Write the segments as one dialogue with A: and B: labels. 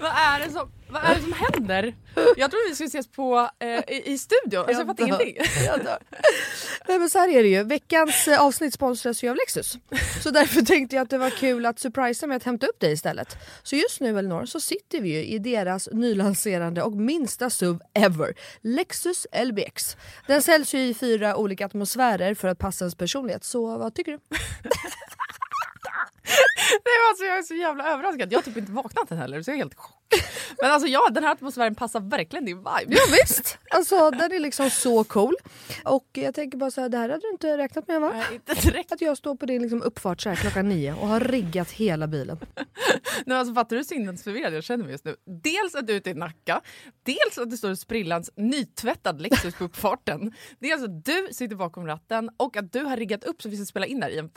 A: vad, är det som, vad är det som händer? Jag trodde vi skulle ses på, eh, i, i studion, alltså, jag fattar
B: dör.
A: ingenting.
B: Jag dör. Nej men så här är det ju, veckans eh, avsnitt sponsras ju av Lexus. Så därför tänkte jag att det var kul att surprisa med att hämta upp dig istället. Så just nu Elinor så sitter vi ju i deras nylanserande och minsta SUV ever, Lexus LBX. Den säljs ju i fyra olika atmosfärer för att passa ens personlighet, så vad tycker du?
A: Nej, men alltså, jag är så jävla överraskad, jag har typ inte vaknat än heller så jag är helt i chock. Men alltså ja, den här atmosfären passar verkligen din vibe.
B: Ja, visst, alltså den är liksom så cool. Och jag tänker bara så här, det här hade du inte räknat med va?
A: Nej, inte direkt.
B: Att jag står på din liksom uppfart så här klockan nio och har riggat hela bilen.
A: Nej, alltså, fattar du hur sinnesförvirrad jag känner mig just nu? Dels att du är ute i Nacka, dels att det står en sprillans nytvättad Lexus på uppfarten. Dels att du sitter bakom ratten och att du har riggat upp så vi ska spela in där i en,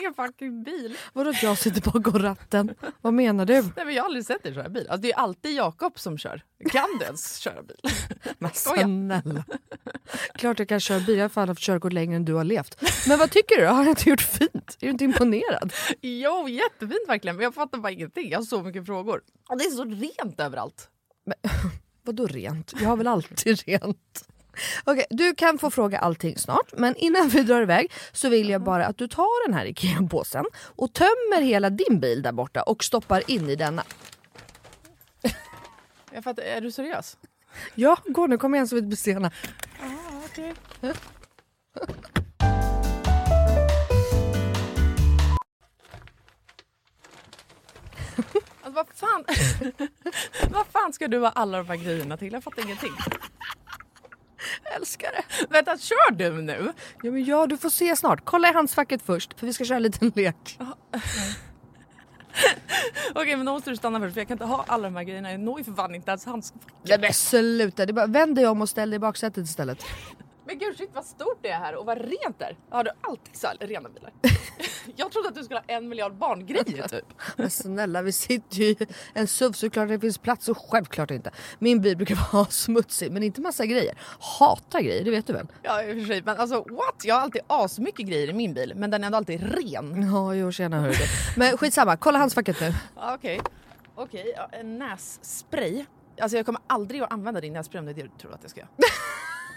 A: i en fucking bil.
B: Vadå att jag sitter bakom ratten? Vad menar du?
A: Nej, men jag har aldrig sett dig köra bil. Alltså, det är alltid Jakob som kör. Kan du ens köra bil?
B: Men
A: Skoja.
B: snälla. Klart jag kan köra bil, jag har fan haft körkort längre än du har levt. Men vad tycker du? Har jag inte gjort fint? Är du inte imponerad?
A: Jo, jättefint verkligen. Men jag fattar bara ingenting. Jag har så mycket frågor. Och det är så rent överallt.
B: Vadå rent? Jag har väl alltid rent. Okej, du kan få fråga allting snart, men innan vi drar iväg så vill jag bara att du tar den här IKEA-påsen och tömmer hela din bil där borta och stoppar in i denna.
A: Jag fattar, är du seriös?
B: Ja, gå nu, kom igen så vi inte blir sena.
A: Alltså, vad, fan... vad fan ska du ha alla de här grejerna till? Jag fattar ingenting.
B: Älskar det.
A: Vänta, kör du nu?
B: Ja, men ja, du får se snart. Kolla i handskfacket först, för vi ska köra en liten lek.
A: Okej, men då måste du stanna först för jag kan inte ha alla de här grejerna. Jag når ju för fan inte ens hans...
B: Nej men sluta, det är bara, vänd dig om och ställ dig i baksätet istället.
A: Men gud shit vad stort det är här och vad rent det är. Har du alltid så här rena bilar? jag trodde att du skulle ha en miljard barngrejer typ.
B: Men snälla, vi sitter ju i en SUV såklart det finns plats och självklart inte. Min bil brukar vara smutsig, men inte massa grejer. Hatar grejer, det vet du väl?
A: Ja i och för sig, men alltså what? Jag har alltid asmycket grejer i min bil men den är ändå alltid ren.
B: Ja, jo tjena hörru du. Men skitsamma, kolla handskfacket nu.
A: Ja, Okej, okej, ja, en nässpray. Alltså jag kommer aldrig att använda din nässpray om det är det du tror att jag ska göra.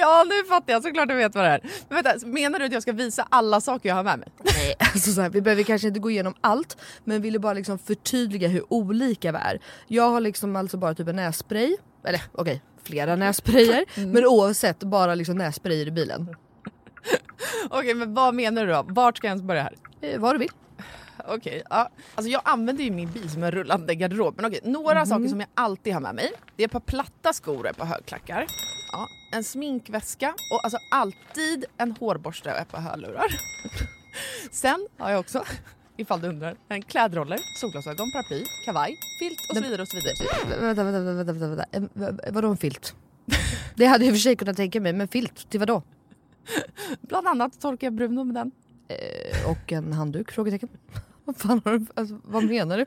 A: Ja nu fattar jag, såklart du vet vad det är. Men vänta, menar du att jag ska visa alla saker jag har med mig?
B: Nej, alltså så här, vi behöver kanske inte gå igenom allt men ville bara liksom förtydliga hur olika vi är. Jag har liksom alltså bara typ en nässpray, eller okej flera nässprayer men oavsett bara liksom nässprayer i bilen.
A: Okej men vad menar du då? Vart ska jag ens börja här?
B: Eh, vad du vill.
A: Okej, ja. alltså jag använder ju min bil som en rullande garderob. Men okej, några saker som jag alltid har med mig. Det är ett par platta skor och ett par högklackar. Ja, en sminkväska och alltså alltid en hårborste och ett par hörlurar. Sen har jag också i ifall du undrar. En klädroller, solglasögon, paraply, kavaj, filt och så vidare och så vidare.
B: Vänta, vänta, vänta, vänta, vänta. Eh, v- Vadå en filt? Det hade jag i och för sig kunnat tänka mig, men filt till vadå?
A: Bland annat torkar jag Bruno med den.
B: Eh, Och en handduk? Frågetecken. Vad fan har du, alltså, vad menar du?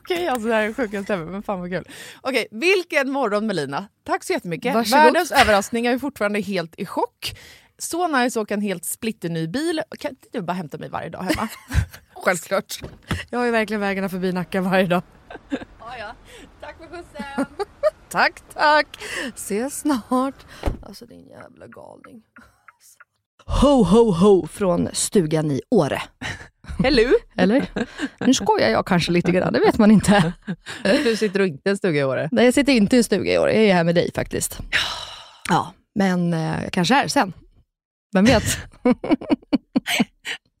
A: Okej, alltså det här är sjukast ever, men fan vad kul. Okej, vilken morgon Melina. Tack så jättemycket.
B: Varsågod.
A: Världens överraskning, jag är fortfarande helt i chock. Så nice att åka en helt splitterny bil. Kan inte du bara hämta mig varje dag hemma?
B: Självklart. Jag har ju verkligen vägarna förbi Nacka varje dag.
A: Tack för skjutsen!
B: Tack, tack. Ses snart. Alltså din jävla galning. Ho, ho, ho från stugan i Åre.
A: Hello!
B: Eller? Nu skojar jag kanske lite grann, det vet man inte.
A: Du sitter och inte stuga i Åre.
B: Nej, jag sitter inte i en stuga i år. Jag är här med dig faktiskt. Ja, men eh, jag kanske är sen. Vem vet?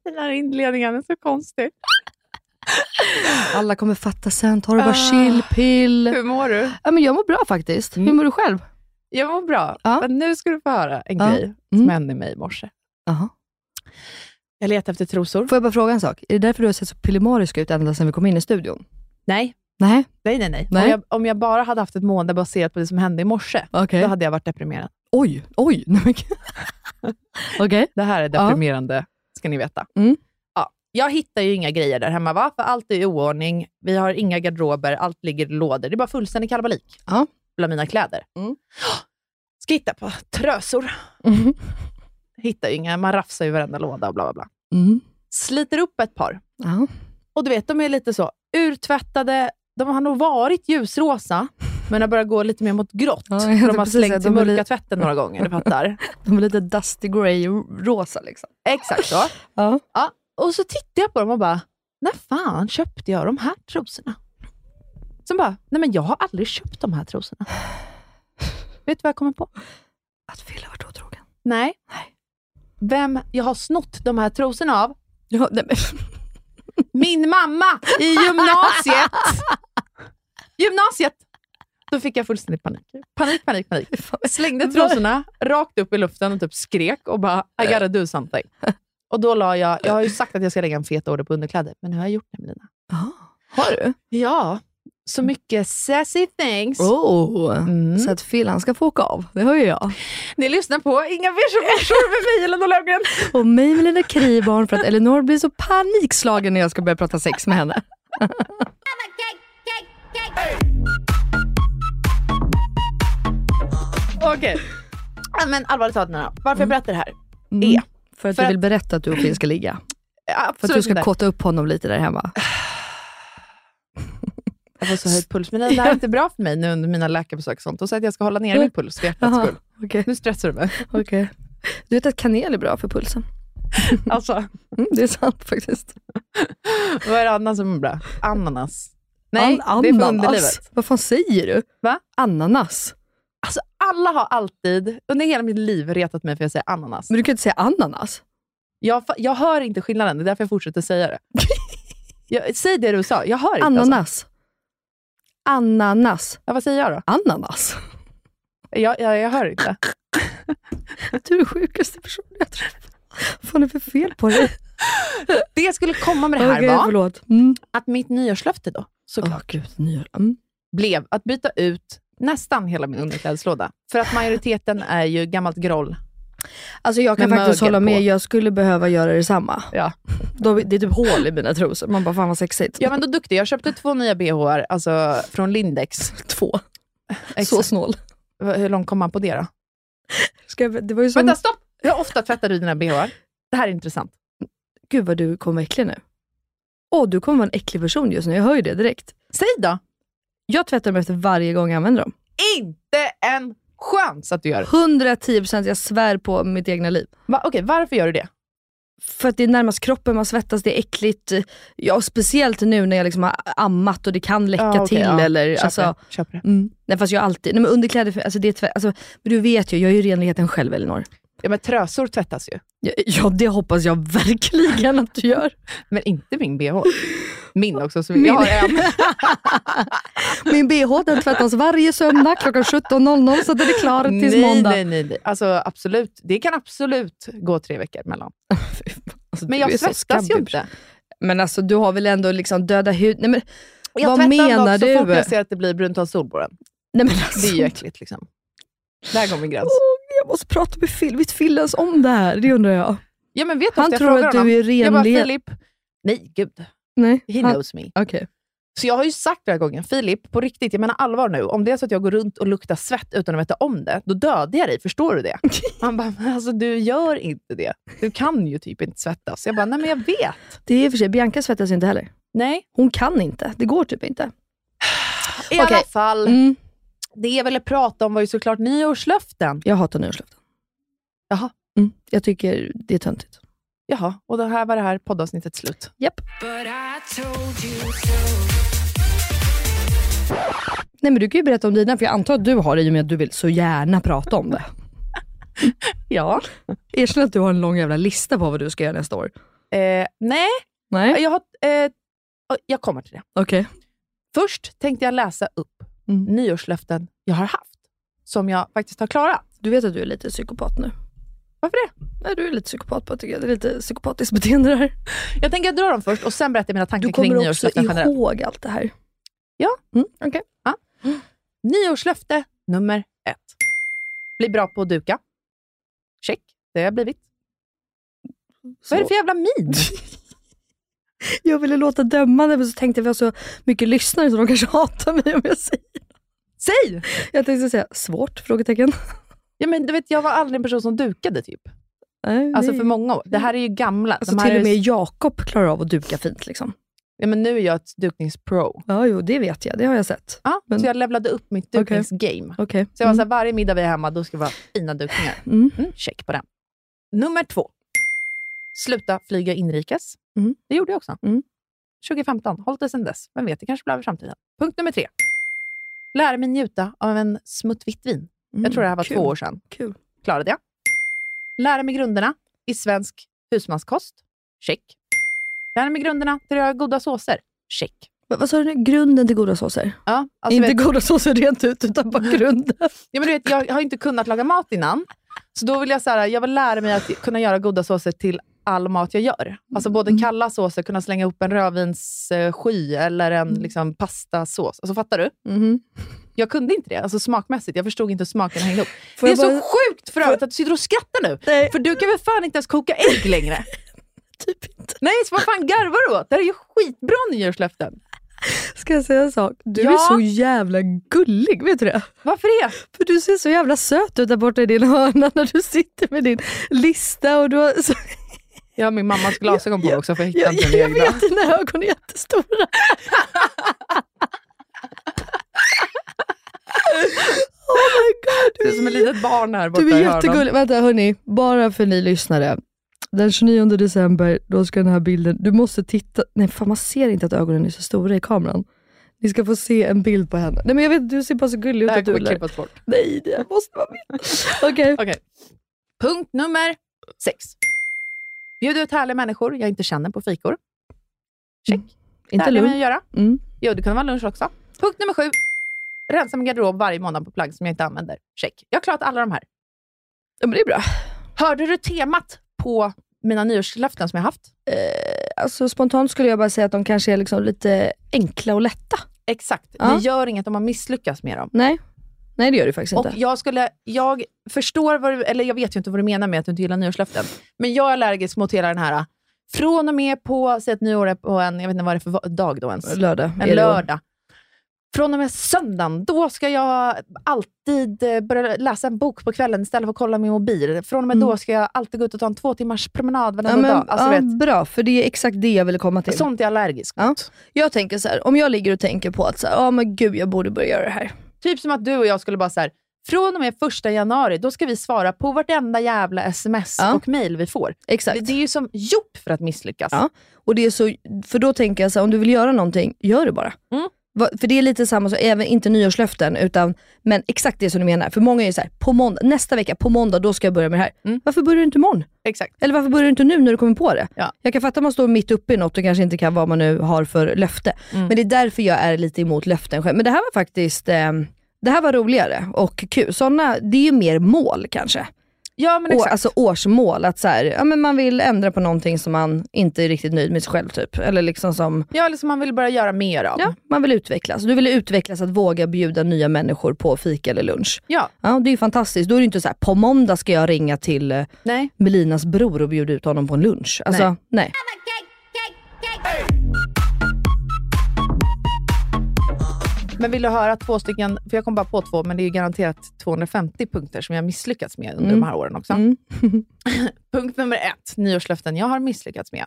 A: Den här inledningen är så konstig.
B: Alla kommer fatta sen. Ta det bara
A: Ah.
B: chill pill.
A: Hur mår du?
B: Ja, men jag mår bra faktiskt. Hur mår du själv?
A: Jag mår bra.
B: Ja.
A: Men nu ska du få höra en
B: Ja.
A: grej som
B: Mm.
A: hände mig i morse.
B: Aha.
A: Jag letar efter trosor.
B: Får jag bara fråga en sak? Är det därför du har sett så pillemarisk ut ända sedan vi kom in i studion?
A: Nej,
B: Nej,
A: nej, nej. nej.
B: Nej.
A: Om, jag, om jag bara hade haft ett mående baserat på det som hände i morse,
B: okej.
A: då hade jag varit deprimerad.
B: Oj, oj. nej men gud. Okej.
A: Det här är
B: Ja.
A: deprimerande, ska ni veta.
B: Mm.
A: Ja, jag hittar ju inga grejer där hemma, va? för allt är i oordning. Vi har inga garderober, allt ligger i lådor. Det är bara fullständig kalabalik
B: Ja.
A: bland mina kläder.
B: Mm.
A: Ska hitta på trösor.
B: Mhm.
A: Hittar ju inga, man rafsar ju varenda låda och bla bla bla.
B: Mm.
A: Sliter upp ett par.
B: Ja.
A: Och du vet, de är lite så urtvättade. De har nog varit ljusrosa, men har börjat gå lite mer mot grått.
B: Ja, jag
A: för
B: tänkte
A: de har
B: precis säga,
A: slängt i
B: de är
A: mörka
B: li-
A: tvätten några gånger, du fattar.
B: De är lite dusty grey och rosa liksom.
A: Exakt så.
B: Ja.
A: Och så tittar jag på dem och bara, när fan köpte jag de här trosorna? Sen bara, nej men jag har aldrig köpt de här trosorna. Vet du vad jag kommer på?
B: Att Fille varit otrogen.
A: Nej. Vem jag har snott de här trosorna av?
B: Ja, nej, men.
A: Min mamma i gymnasiet! gymnasiet! Då fick jag fullständig panik. Panik, panik, panik. Slängde trosorna rakt upp i luften och typ skrek och bara I gotta do something. Och då la jag, jag har ju sagt att jag ska lägga en fet order på underkläder, men nu har jag gjort det Melina.
B: Ja. Har du?
A: Ja, så mycket sassy things.
B: Oh.
A: Mm.
B: Så att Phil han ska få åka av, det hör ju jag.
A: Ni lyssnar på Inga visioner med mig Elina Löfgren.
B: Och mig med Lena Kriborn för att Elinor blir så panikslagen när jag ska börja prata sex med henne.
A: Okej. Ja, Men allvarligt talat Nina, varför jag berättar det här?
B: Mm.
A: Är.
B: För att
A: För
B: du
A: att-
B: vill berätta att du och Phil ska ligga. För att
A: Absolut
B: du ska
A: inte.
B: kåta upp honom lite där hemma.
A: Jag får så hög puls, men det här är inte bra för mig nu under mina läkarbesök och sånt. Och så att jag ska hålla ner min puls för hjärtats
B: Jaha,
A: skull.
B: okej.
A: Nu stressar du mig.
B: okej. Du vet att kanel är bra för pulsen.
A: Alltså,
B: Mm, det är sant faktiskt.
A: vad är det annars som är bra? Ananas. Nej, det är för underlivet.
B: Vad fan säger du?
A: Va?
B: Ananas.
A: Alltså, alla har alltid, under hela mitt liv, retat mig för att jag säger ananas.
B: Men du kan inte säga ananas.
A: Jag, fa- jag hör inte skillnaden, det är därför jag fortsätter säga det. Jag, säg det du sa, jag hör inte. Alltså.
B: Ananas. Ananas.
A: Ja, vad säger jag då?
B: Ananas.
A: Jag, jag, jag hör inte.
B: Du är den sjukaste personen jag träffat. Vad fan är det för fel på dig?
A: Det jag skulle komma med det här
B: Okej,
A: var
B: förlåt. Mm.
A: att mitt nyårslöfte då, såklart,
B: Åh, gud, nya. Mm.
A: blev att byta ut nästan hela min underklädeslåda. För att majoriteten är ju gammalt groll.
B: Alltså jag kan
A: Med
B: faktiskt
A: mögel
B: hålla med,
A: på.
B: jag skulle behöva göra detsamma.
A: Ja.
B: Då, det är typ hål i mina trosor, man bara fan vad sexigt.
A: Ja, men då duktig. Jag köpte två nya bhar, alltså från Lindex.
B: Två, så
A: Exakt.
B: snål.
A: Hur långt kom man på det då?
B: Ska jag, det var ju som,
A: Vänta, stopp! Hur ofta tvättar du dina bhar? Det här är intressant.
B: gud vad du kommer vara äcklig nu. Åh, du kommer vara en äcklig person just nu, jag hör ju det direkt.
A: Säg då!
B: Jag tvättar dem efter varje gång jag använder dem.
A: Inte en chans att du gör det.
B: 110% jag svär på mitt egna liv.
A: Va, okej, varför gör du det?
B: För att det är närmast kroppen, man svettas, det är äckligt. Ja, och speciellt nu när jag liksom har ammat och det kan läcka
A: Ja, okej,
B: till.
A: ja.
B: Eller,
A: Köp
B: alltså,
A: det. Köp det.
B: mm. Nej fast jag har alltid, nej men underkläder, för- alltså, det är tvätt, alltså, men du vet ju, jag är ju renligheten själv Elinor.
A: Ja, men trösor tvättas ju,
B: Ja, ja det hoppas jag verkligen att du gör.
A: men inte min bh. Min också. Så Jag har en.
B: Min bh den tvättas varje söndag klockan 17.00 så den är klar tills
A: nej,
B: måndag.
A: Nej, nej, nej. Alltså, absolut. Det kan absolut gå tre veckor mellan.
B: Alltså,
A: Men
B: du är
A: jag
B: så
A: svettas
B: skabbig.
A: ju inte.
B: Men alltså du har väl ändå liksom döda hud. Nej men,
A: Jag
B: vad
A: tvättar en dag
B: menar
A: Så fort
B: du?
A: jag ser att det blir brunt av solborren.
B: Nej, men alltså,
A: Det är ju äckligt. Liksom. Där går min gräns.
B: Jag måste prata med Phil, vet Fillens om det här? Det undrar jag.
A: Ja, men vet du
B: Han
A: ofta jag
B: tror
A: frågar
B: att du
A: honom.
B: är
A: Jag bara,
B: renlighet...
A: Filip. Nej, gud.
B: Nej.
A: He
B: han-
A: knows me.
B: Okej.
A: Så jag har ju sagt den här gången, Filip, på riktigt, jag menar allvar nu. Om det är så att jag går runt och luktar svett utan att veta om det, då dödar jag dig. Förstår du det? Han bara, men alltså du gör inte det. Du kan ju typ inte svettas. Jag bara, nej men jag vet.
B: Det är i och för sig, Bianca svettas ju inte heller.
A: Nej.
B: Hon kan inte, det går typ inte. Okej.
A: I alla fall,
B: Mm.
A: det jag ville prata om var ju såklart nyårslöften.
B: Jag hatar nyårslöften.
A: Jaha.
B: Mm. Jag tycker det är töntigt.
A: Jaha, och det här var det här poddavsnittet slut.
B: Japp. Nej men du kan ju berätta om dina, för jag antar att du har det i och med att du vill så gärna prata om det.
A: Ja.
B: Erkänn att du har en lång jävla lista på vad du ska göra nästa år.
A: Eh, nej,
B: Nej,
A: jag, har, eh, jag kommer till det.
B: okej.
A: Först tänkte jag läsa upp
B: Mm.
A: nyårslöften jag har haft, som jag faktiskt har klarat.
B: Du vet att du är lite psykopat nu.
A: Varför det?
B: Nej, du är lite psykopat på tycker jag. Det är lite psykopatiskt beteende det här.
A: Jag tänker jag drar dem först och sen berättar jag mina
B: Du
A: tankar kring
B: kommer också
A: nyårslöften generellt.
B: ihåg allt det här.
A: Ja.
B: Mm, okej.
A: Nyårslöfte nummer ett. Bli bra på att duka. Check, det har jag blivit. Vad är det för jävla min?
B: Jag ville låta dömande men så tänkte jag vi har så mycket lyssnare så de kanske hatar mig om jag säger.
A: Säg!
B: Jag tänkte säga svårt? Frågetecken.
A: Ja, men du vet, jag var aldrig en person som dukade typ.
B: Nej,
A: Alltså
B: nej.
A: för många år. Det här är ju gamla.
B: alltså,
A: De här
B: till och
A: är
B: med
A: ju...
B: Jakob klarar av att duka fint. Liksom.
A: ja, men nu är jag ett dukningspro.
B: Ja, jo, det vet jag. Det har jag sett.
A: Ja,
B: Men-
A: Så jag levlade upp mitt
B: Okej. Mm.
A: dukningsgame.
B: Okej.
A: Så jag var så här, varje middag vi är hemma, då ska det vara fina dukningar.
B: Mm.
A: Mm, check på den. Nummer två. Sluta flyga inrikes.
B: Mm.
A: Det gjorde jag också.
B: Mm.
A: 2015. Hållit det sedan dess. Vem vet, det kanske blir av i framtiden. Punkt nummer tre. Lära mig njuta av en smutt vitt vin. Jag tror det här var
B: kul.
A: två år sedan.
B: Mm. Kul.
A: Klarade jag. Lära mig grunderna i svensk husmanskost. Check. Lära mig grunderna till att göra goda såser. Check.
B: Va, vad sa du nu? Grunden till goda såser?
A: Ja, alltså,
B: Inte
A: vet,
B: goda såser rent ut, utan bara grunden.
A: ja, men du vet, jag har ju inte kunnat laga mat innan. Så då vill jag, så här, jag vill lära mig att kunna göra goda såser till all mat jag gör. Alltså
B: Mm.
A: både kalla såser, kunna slänga upp en rödvinssky eller en
B: Mm.
A: liksom, pastasås. Alltså fattar du?
B: Mhm.
A: Jag kunde inte det, alltså smakmässigt. Jag förstod inte hur smaken hängde ihop.
B: Får
A: det är
B: jag bara-
A: så sjukt för övrigt att du sitter och skrattar nu.
B: Nej.
A: För du kan väl fan inte ens koka ägg längre?
B: Typ inte.
A: Nej, så vad fan garvar du åt? Det här är ju skitbra nyårslöften.
B: Ska jag säga en sak? Du
A: Ja.
B: är så jävla gullig, vet du det?
A: Varför det?
B: För du ser så jävla söt ut där borta i din hörna när du sitter med din lista och du har så
A: Jag har min mammas glasögon på mig också för jag hittar
B: Jag,
A: inte
B: jag,
A: mina
B: jag
A: egna.
B: vet, dina ögon är jättestora. oh my god,
A: Det
B: du
A: är som ett
B: är,
A: litet barn här borta
B: du är
A: i hörnan.
B: jättegullig. Vänta hörni, bara för ni lyssnare. Den 29 december, då ska den här bilden, du måste titta, nej fan man ser inte att ögonen är så stora i kameran. Ni ska få se en bild på henne. Nej men jag vet, du ser bara så gullig ut
A: Det här
B: att du
A: kommer
B: är
A: klippas bort.
B: Nej, det måste vara med. Okej.
A: Okej. Punkt nummer sex. Bjud ut härliga människor jag inte känner på fikor. Check. Det
B: Inte
A: här kan man
B: lugn.
A: ju Mm. göra.
B: Mm.
A: Jo, det kunde vara lunch också. Punkt nummer sju. Rensa min garderob varje månad på plagg som jag inte använder. Check. Jag har klarat alla de här.
B: Ja, men det är bra.
A: Hörde du temat på mina nyårslöften som jag haft?
B: Alltså, spontant skulle jag bara säga att de kanske är liksom lite enkla och lätta.
A: Exakt.
B: Ja.
A: Det gör inget om man misslyckas med dem.
B: Nej, Nej det gör det faktiskt
A: Och
B: inte.
A: jag, skulle, jag förstår, vad du, eller jag vet ju inte vad du menar med att du inte gillar nyårslöften, men jag är allergisk mot hela den här, äh, från och med på, säg att nyår är på en, jag vet inte vad det är för va- dag då ens,
B: Lördag. är det
A: en
B: då.
A: lördag. Från och med söndagen, då ska jag alltid eh, börja läsa en bok på kvällen istället för att kolla min mobil. Från och med
B: Mm.
A: då ska jag alltid gå ut och ta en två timmars promenad
B: Ja,
A: varenda
B: men,
A: dag. Alltså,
B: ja,
A: vet,
B: bra, för det är exakt det jag ville komma till.
A: sånt är jag allergisk
B: Ja.
A: mot.
B: Jag tänker så här, om jag ligger och tänker på att så här, "Ja, men gud, jag borde börja göra det här.
A: Typ som att du och jag skulle bara så här, från och med första januari, då ska vi svara på vartenda jävla sms
B: Ja.
A: och mail vi får.
B: Exakt.
A: Det, det är ju som gjort för att misslyckas.
B: Ja. Och det är så, för då tänker jag så här, om du vill göra någonting, gör det bara.
A: Mm.
B: Va- För det är lite samma som, även inte nyårslöften, utan, men exakt det som du menar. För många är ju så här, på måndag, nästa vecka, på måndag, då ska jag börja med det här.
A: Mm.
B: Varför börjar du inte imorgon?
A: Exakt.
B: Eller varför börjar du inte nu när du kommer på det?
A: Ja.
B: Jag kan fatta att man står mitt uppe i något och kanske inte kan vad man nu har för löfte.
A: Mm.
B: Men det är därför jag är lite emot löften själv. Men det här var faktiskt, eh, det här var roligare och kul. Såna, det är ju mer mål kanske.
A: Ja, men
B: Och,
A: exakt.
B: alltså årsmål, att så här, ja, men man vill ändra på någonting som man inte är riktigt nöjd med sig själv typ. Eller liksom som,
A: ja, eller som man vill börja göra mer av.
B: ja, man vill utvecklas. Du vill utvecklas att våga bjuda nya människor på fika eller lunch.
A: Ja.
B: Ja, det är ju fantastiskt. Då är det inte så här, på måndag ska jag ringa till eh,
A: Nej.
B: Melinas bror och bjuda ut honom på en lunch. Alltså, nej.
A: Nej. Men vill du höra två stycken, för jag kom bara på två, men det är ju garanterat 250 punkter som jag misslyckats med under
B: Mm.
A: de här åren också.
B: Mm.
A: Punkt nummer ett, nyårslöften jag har misslyckats med.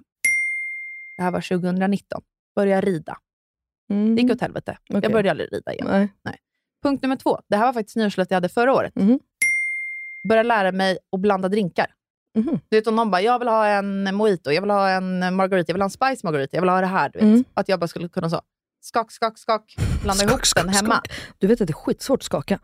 A: Det här var 2019. Börja rida.
B: Mm.
A: Det gick åt helvete.
B: Okej.
A: Jag började aldrig rida igen.
B: Mm, Nej.
A: Punkt nummer två, det här var faktiskt nyårslöftet jag hade förra året.
B: Mhm.
A: Börja lära mig att blanda drinkar.
B: Mhm.
A: Du vet om någon bara, jag vill ha en mojito, jag vill ha en margarita, jag vill ha en spice margarita, jag vill ha det här. Du vet.
B: Mm.
A: Att jag bara skulle kunna så, skak, skak, skak, blanda
B: Skak,
A: ihop
B: skak,
A: den hemma.
B: skak. Du vet att det är skitsvårt att skaka.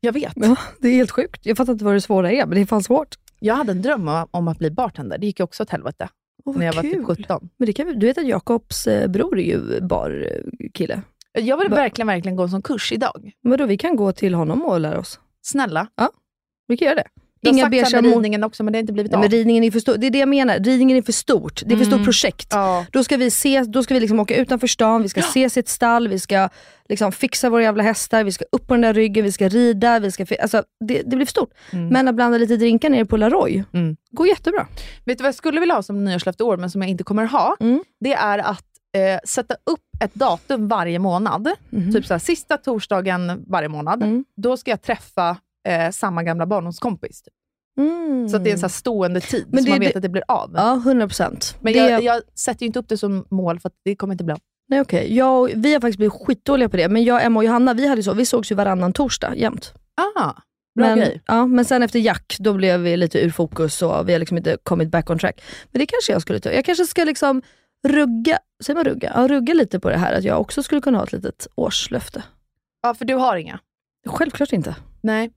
A: Jag vet.
B: Ja, det är helt sjukt. Jag fattar inte vad det svåra är, men det är fan svårt.
A: Jag hade en dröm om- om att bli bartender. Det gick ju också åt helvete
B: Åh,
A: när
B: vad
A: jag var
B: kul.
A: typ 17.
B: Men det kan, vi- du vet att Jakobs eh, bror är ju eh, barkille.
A: Jag vill
B: Va-
A: verkligen, verkligen gå en sån kurs idag.
B: Men då vi kan gå till honom och lära oss.
A: Snälla.
B: Vi kan göra det.
A: Jag har
B: Inga
A: sagt så
B: beiga
A: här med
B: mål.
A: ridningen också, men det har inte blivit
B: Nej,
A: av.
B: men ridningen är för stor. Det är det jag menar. Ridningen är för stort. Det är för stort
A: Mm.
B: projekt.
A: ja.
B: Då ska vi ses, då ska vi liksom åka utanför stan, vi ska ses i ett stall, vi ska liksom fixa våra jävla hästar, vi ska upp på den där ryggen, vi ska rida, vi ska... fi- Alltså, det, det blir för stort.
A: Mm.
B: Men att blanda lite drinkar nere på Laroy,
A: Mm.
B: går jättebra.
A: Vet du vad jag skulle vilja ha som nyårslöfte i år, men som jag inte kommer ha?
B: Mm.
A: Det är att eh, sätta upp ett datum varje månad. Typ så här, sista torsdagen varje månad.
B: Mm.
A: Då ska jag träffa eh, samma gamla barndomskompis. Typ.
B: Mm.
A: Så att det är en så här stående tid,
B: Men
A: så
B: det-
A: man vet
B: det-
A: att det blir av.
B: Ja, 100%.
A: Men
B: Det-
A: jag, jag sätter ju inte upp det som mål, för att det kommer inte bli av.
B: Nej, okay. jag, och- vi har faktiskt blivit skitdåliga på det, men jag, Emma och Johanna vi hade ju så, vi sågs ju varannan torsdag jämt.
A: Ah, bra
B: Men,
A: grej.
B: ja, men sen efter Jack, då blev vi lite ur fokus och vi har liksom inte kommit back on track. Men det kanske jag skulle ta. Jag kanske ska liksom rugga, säger man rugga? Ja, rugga lite på det här att jag också skulle kunna ha ett litet årslöfte.
A: Ja, för du har inga?
B: Självklart inte.
A: Nej.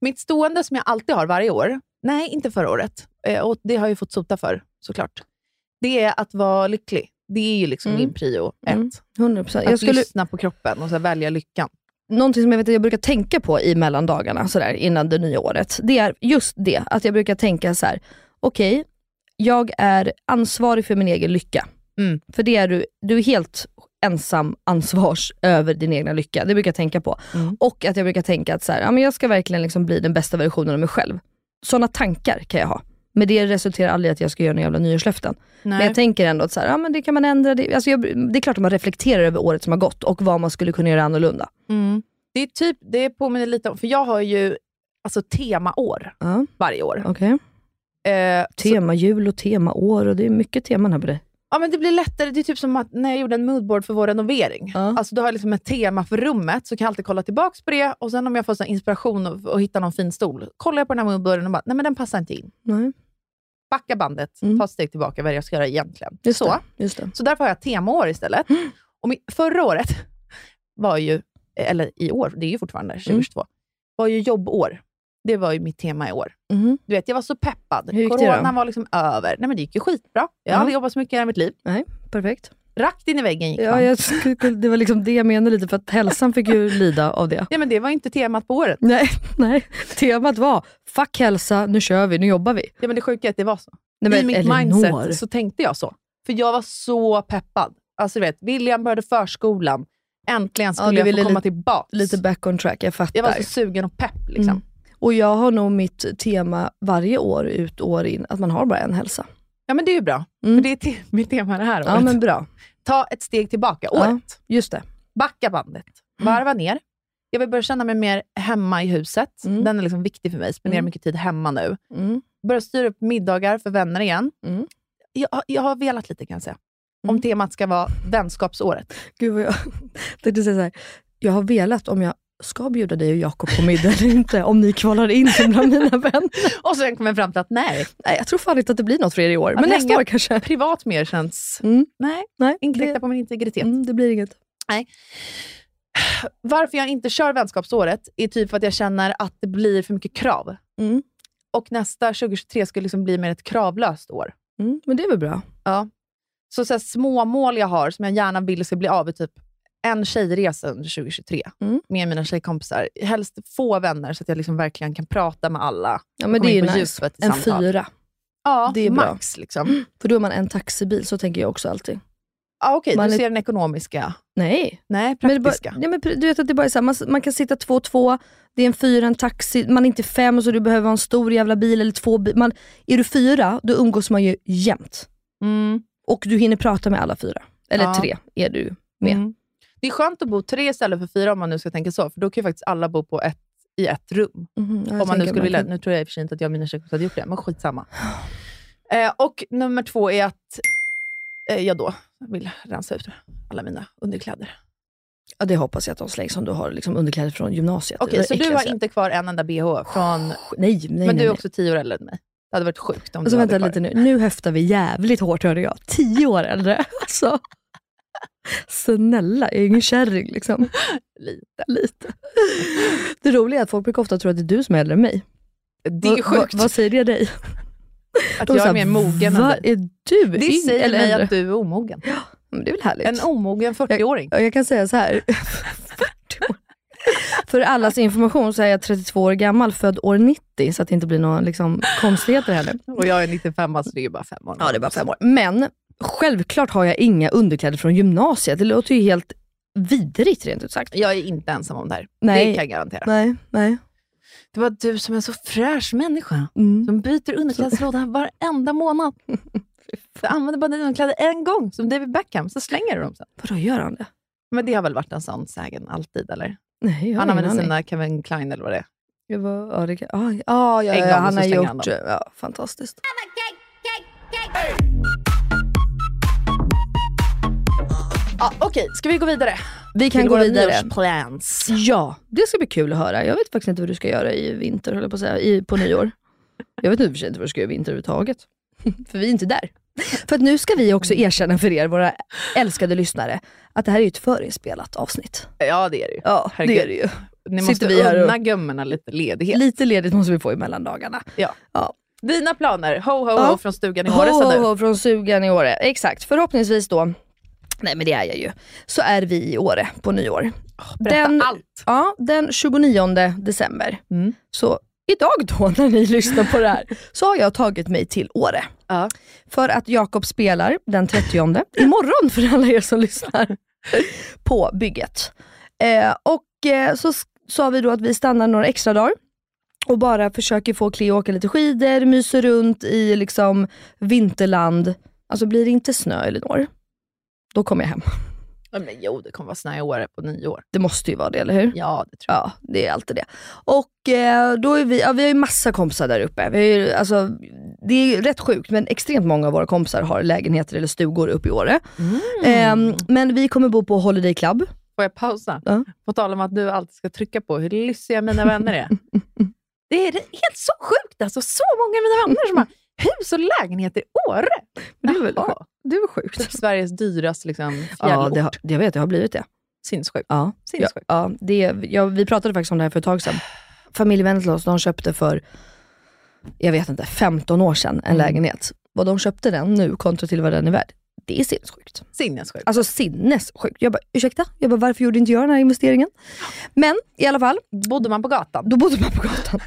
A: Mitt stående som jag alltid har varje år, nej, inte förra året, eh, och det har jag ju fått sota för såklart, det är att vara lycklig. Det är ju liksom
B: Mm.
A: min prio ett.
B: Mm. 100%.
A: Att
B: Jag skulle,
A: lyssna på kroppen och så här välja lyckan.
B: någonting som jag vet att jag brukar tänka på i mellandagarna sådär, innan det nya året, det är just det. Att jag brukar tänka så här: okej, jag är ansvarig för min egen lycka.
A: Mm.
B: För det är du, du är helt ensam ansvars över din egna lycka. Det brukar jag tänka på.
A: Mm.
B: Och att jag brukar tänka att så här, ja, men jag ska verkligen liksom bli den bästa versionen av mig själv. Sådana tankar kan jag ha. Men det resulterar aldrig i att jag ska göra några jävla nyårslöften. Men jag tänker ändå att så här, ja, men det kan man ändra. Det, alltså jag, det är klart att man reflekterar över året som har gått och vad man skulle kunna göra annorlunda.
A: Mm. Det är typ, det påminner lite om, för jag har ju alltså, temaår
B: Ja,
A: varje år.
B: okej.
A: Eh, så,
B: Tema jul och tema år och det är mycket teman här på dig.
A: ja, men det blir lättare, det är typ som att när jag gjorde en moodboard för vår renovering.
B: Ja.
A: Alltså, då har jag liksom ett tema för rummet, så kan jag alltid kolla tillbaka på det. Och sen om jag får sån här inspiration och, och hittar någon fin stol, kollar jag på den här moodboarden och bara, nej men den passar inte in.
B: Nej,
A: Backa bandet,
B: Mm.
A: ta ett steg tillbaka, vad är det jag ska göra egentligen.
B: just
A: så.
B: det. Mm. Just det.
A: Så därför har jag temaår istället. Och min, förra året var ju, eller i år, det är ju fortfarande
B: Mm.
A: 2022, var ju jobbår. Det var ju mitt tema i år.
B: Mhm.
A: Du vet, jag var så peppad.
B: Hur gick det då?
A: Coronan var liksom över. Nej, men det gick ju skitbra. Jag
B: Ja.
A: har aldrig jobbat så mycket i hela mitt liv.
B: Perfekt.
A: Rakt in i väggen gick
B: Ja,
A: man.
B: jag, skulle- det var liksom det jag menade lite, för att hälsan fick ju lida av det.
A: Ja, men det var inte temat på året.
B: Nej, nej. Temat var, fuck hälsa, nu kör vi, nu jobbar vi.
A: Ja, men det sjuka är att det var så.
B: Nej,
A: I
B: men
A: mitt
B: Elinor.
A: mindset så tänkte jag så. För jag var så peppad. Alltså, du vet, William började förskolan. Äntligen
B: Ja, du
A: skulle jag
B: ville
A: få komma
B: lite-
A: tillbaka.
B: Lite back on track, jag fattar.
A: jag var så sugen och pepp. Liksom.
B: Mm. Och jag har nog mitt tema varje år ut år in, att man har bara en hälsa.
A: Ja, men det är ju bra.
B: Mm.
A: För det är te- mitt tema det här året.
B: Ja men bra,
A: Ta ett steg tillbaka,
B: Ja.
A: året.
B: just det.
A: Backa bandet. Varva ner. Jag vill börja känna mig mer hemma i huset.
B: Mm.
A: Den är liksom viktig för mig. Spenderar
B: Mm.
A: mycket tid hemma nu.
B: Mm.
A: Börja styra upp middagar för vänner igen.
B: Mm.
A: Jag, har- jag har velat lite kan jag säga.
B: Mm.
A: Om temat ska vara vänskapsåret.
B: Gud vad jag tänkte säga så här. jag har velat om jag ska bjuda dig och Jakob på middag eller inte, om ni kvalar in som bland mina vänner.
A: Och sen kom jag fram till att nej,
B: Nej, jag tror fan inte att det blir något för er i år,
A: Att
B: men nästa
A: hänga-
B: år kanske.
A: privat mer känns...
B: Mm.
A: Nej,
B: Nej,
A: inkräktar
B: det,
A: på min integritet.
B: mm, det blir inget.
A: Varför jag inte kör vänskapsåret är typ för att jag känner att det blir för mycket krav.
B: Mm.
A: Och nästa 2023 skulle liksom bli mer ett kravlöst år.
B: Mm, men det är väl bra.
A: Så, så här, små mål jag har som jag gärna vill ska bli av är typ en tjejresa under 2023
B: Mm.
A: med mina tjejkompisar. Helst få vänner så att jag liksom verkligen kan prata med alla.
B: Ja, men
A: Komma
B: det är
A: in
B: ju
A: på
B: nice.
A: djupet i
B: En
A: samtal.
B: fyra,
A: Ja,
B: Det är bra.
A: max. Liksom.
B: för då är man en taxibil, så tänker jag också alltid.
A: Ja, Okej,
B: Man
A: du
B: är-
A: ser den ekonomiska.
B: Nej,
A: Nej,
B: men, det bara,
A: praktiska.
B: nej, men pr- du vet att det bara är så här, man, s- man kan sitta två och två, det är en fyra, en taxi, man är inte fem så du behöver ha en stor jävla bil eller två bi- man Är du fyra, då umgås man ju jämt.
A: Mm,
B: Och du hinner prata med alla fyra. Eller
A: Ja.
B: tre är du med.
A: mm. Det är skönt att bo tre istället för fyra om man nu ska tänka så, för då kan ju faktiskt alla bo på ett, i ett rum.
B: Mhm, jag
A: Om man nu
B: tänker
A: skulle vilja.
B: att
A: Nu tror jag i och för sig inte att jag och mina tjejkompisar hade gjort det, men skitsamma. Eh, och nummer två är att eh, jag då vill rensa ut alla mina underkläder.
B: Ja, det hoppas jag att de slängs om du har liksom underkläder från gymnasiet.
A: Okej,
B: Det
A: så du
B: äckligaste.
A: har inte kvar en enda bh från...
B: Nej, nej,
A: men du
B: nej.
A: är
B: nej.
A: också tio år äldre än mig. Det hade varit sjukt om
B: Alltså,
A: du
B: vänta
A: hade
B: lite nu. Nu höftar vi jävligt hårt hörde jag. Tio år äldre. Alltså. Snälla, jag är ingen kärring liksom. Lite. Lite. Det roliga är att folk brukar ofta tro att det är du som är äldre än mig.
A: Det är
B: Vad-
A: sjukt
B: Vad, vad säger det dig?
A: att
B: De
A: jag
B: så här,
A: är mer mogen än
B: "Va,
A: dig.
B: är du
A: Det
B: yng-
A: säger
B: eller
A: mig
B: äldre?
A: att du är omogen.
B: Men Det är väl härligt?
A: En omogen 40-åring.
B: Ja, Jag kan säga så här. För allas information så är jag 32 år gammal, född år 90, så att det inte blir några liksom, konstigheter här nu.
A: Och jag är 95, så det är ju bara fem år.
B: Ja, det är bara fem år. Men självklart har jag inga underkläder från gymnasiet. Det låter ju helt vidrigt rent ut sagt.
A: Jag är inte ensam om det här. Det
B: Nej.
A: kan jag garantera.
B: Nej, nej.
A: Det var du som är en så fräsch människa.
B: Mm.
A: Som byter underklädeslåda varenda månad. Du använder bara dina underkläder en gång, som David Beckham, så slänger du dem sen.
B: Vadå, gör han det?
A: Men det har väl varit en sån sägen alltid, eller?
B: Nej, jag har
A: Han
B: ingen
A: använder
B: aning.
A: sina Kevin Klein eller vad det är.
B: Jag var, ja, det kan, ah, ja, ah, ja,
A: En
B: ja,
A: gång och
B: han
A: så
B: har
A: slänger han
B: gjort...
A: dem.
B: Ja, fantastiskt.
A: Ja, Okej, ska vi gå vidare?
B: Vi
A: Till
B: kan gå
A: våra
B: vidare.
A: nyårsplans.
B: Ja, det ska bli kul att höra. Jag vet faktiskt inte vad du ska göra i vinter, höll jag på att säga, i, på nyår. Jag vet nu i och för sig inte vad du ska göra i vinter överhuvudtaget. För vi är inte där. För att nu ska vi också erkänna för er, våra älskade lyssnare, att det här är ju ett förinspelat avsnitt.
A: Ja, det är det ju.
B: Ja,
A: Herregud.
B: det är det ju.
A: Ni
B: Sitter
A: måste
B: vi här och-
A: unna gummorna lite ledighet.
B: Lite ledigt måste vi få emellan dagarna.
A: Dina planer, ho, ho, ho
B: Ja.
A: från stugan i
B: Ho,
A: Åre sa
B: ho,
A: du.
B: ho från sugan i Åre. Exakt, förhoppningsvis då, nej men det är jag ju, så är vi i Åre på nyår.
A: Berätta
B: Den-
A: allt.
B: Ja, den 29 december.
A: Mm.
B: Så idag då, när ni lyssnar på det här, så har jag tagit mig till Åre.
A: Ja.
B: För att Jakob spelar den 30, imorgon för alla er som lyssnar, på bygget. Eh, och eh, så s- sa vi då att vi stannar några extra dagar och bara försöker få Cleo att åka lite skidor, myser runt i liksom vinterland. Alltså blir det inte snö Elinor, då kommer jag hem.
A: Ja, men jo, det kommer vara snö i Åre på nyår.
B: Det måste ju vara det, eller hur?
A: Ja, det tror jag.
B: Ja, det är alltid det. Och eh, då är vi, ja, vi har ju massa kompisar där uppe. Vi har ju, alltså, det är ju rätt sjukt, men extremt många av våra kompisar har lägenheter eller stugor uppe i Åre.
A: Mm.
B: Ehm, men vi kommer bo på Holiday Club.
A: Får jag pausa?
B: Ja.
A: På tal om att du alltid ska trycka på hur lyssiga mina vänner är. Det är helt så sjukt alltså. Så många av mina vänner som har hus och lägenhet i Åre.
B: Det är väl
A: Jaha.
B: sjukt. Det är väl sjukt.
A: Typ Sveriges dyraste liksom,
B: Ja,
A: fjällort.
B: det har, jag vet, det har blivit det.
A: Sinnessjukt.
B: Ja. Ja,
A: Sinnessjukt.
B: ja, det är, ja, vi pratade faktiskt om det här för ett tag sedan. Familjevänner till oss, de köpte för,
A: Mm.
B: jag vet inte, 15 år sedan en lägenhet. Vad de köpte den nu kontra till vad den är värd. Det är sinnessjukt.
A: Sinnessjukt.
B: Alltså sinnessjukt. Jag bara, ursäkta? Jag bara, varför gjorde inte jag den här investeringen? Men i alla fall,
A: Bodde man på gatan?
B: då bodde man på gatan.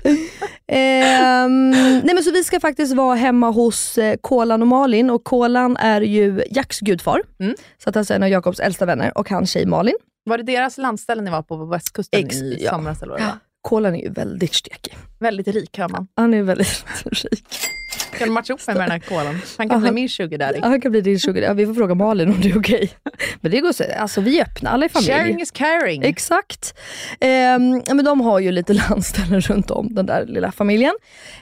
B: Ehm, nej men så vi ska faktiskt vara hemma hos eh, Kolan och Malin och Kolan är ju Jacks gudfar.
A: Mm.
B: Så att alltså en av Jakobs äldsta vänner och hans tjej Malin.
A: Var det deras landställe ni var på, på västkusten
B: Ex-
A: i
B: ja.
A: somras? Eller vad det var?
B: Kolan är ju väldigt stekig.
A: Väldigt rik hör man.
B: Han är väldigt rik.
A: Kan du matcha upp mig med den här kolan? Han kan
B: Aha.
A: bli min sugar daddy.
B: Ja, han kan bli din sugar. Ja, vi får fråga Malin om det är okej. Men det går så. Alltså vi är öppna, alla i familjen.
A: Sharing is caring.
B: Exakt. Ehm, ja, men de har ju lite landställen runt om den där lilla familjen.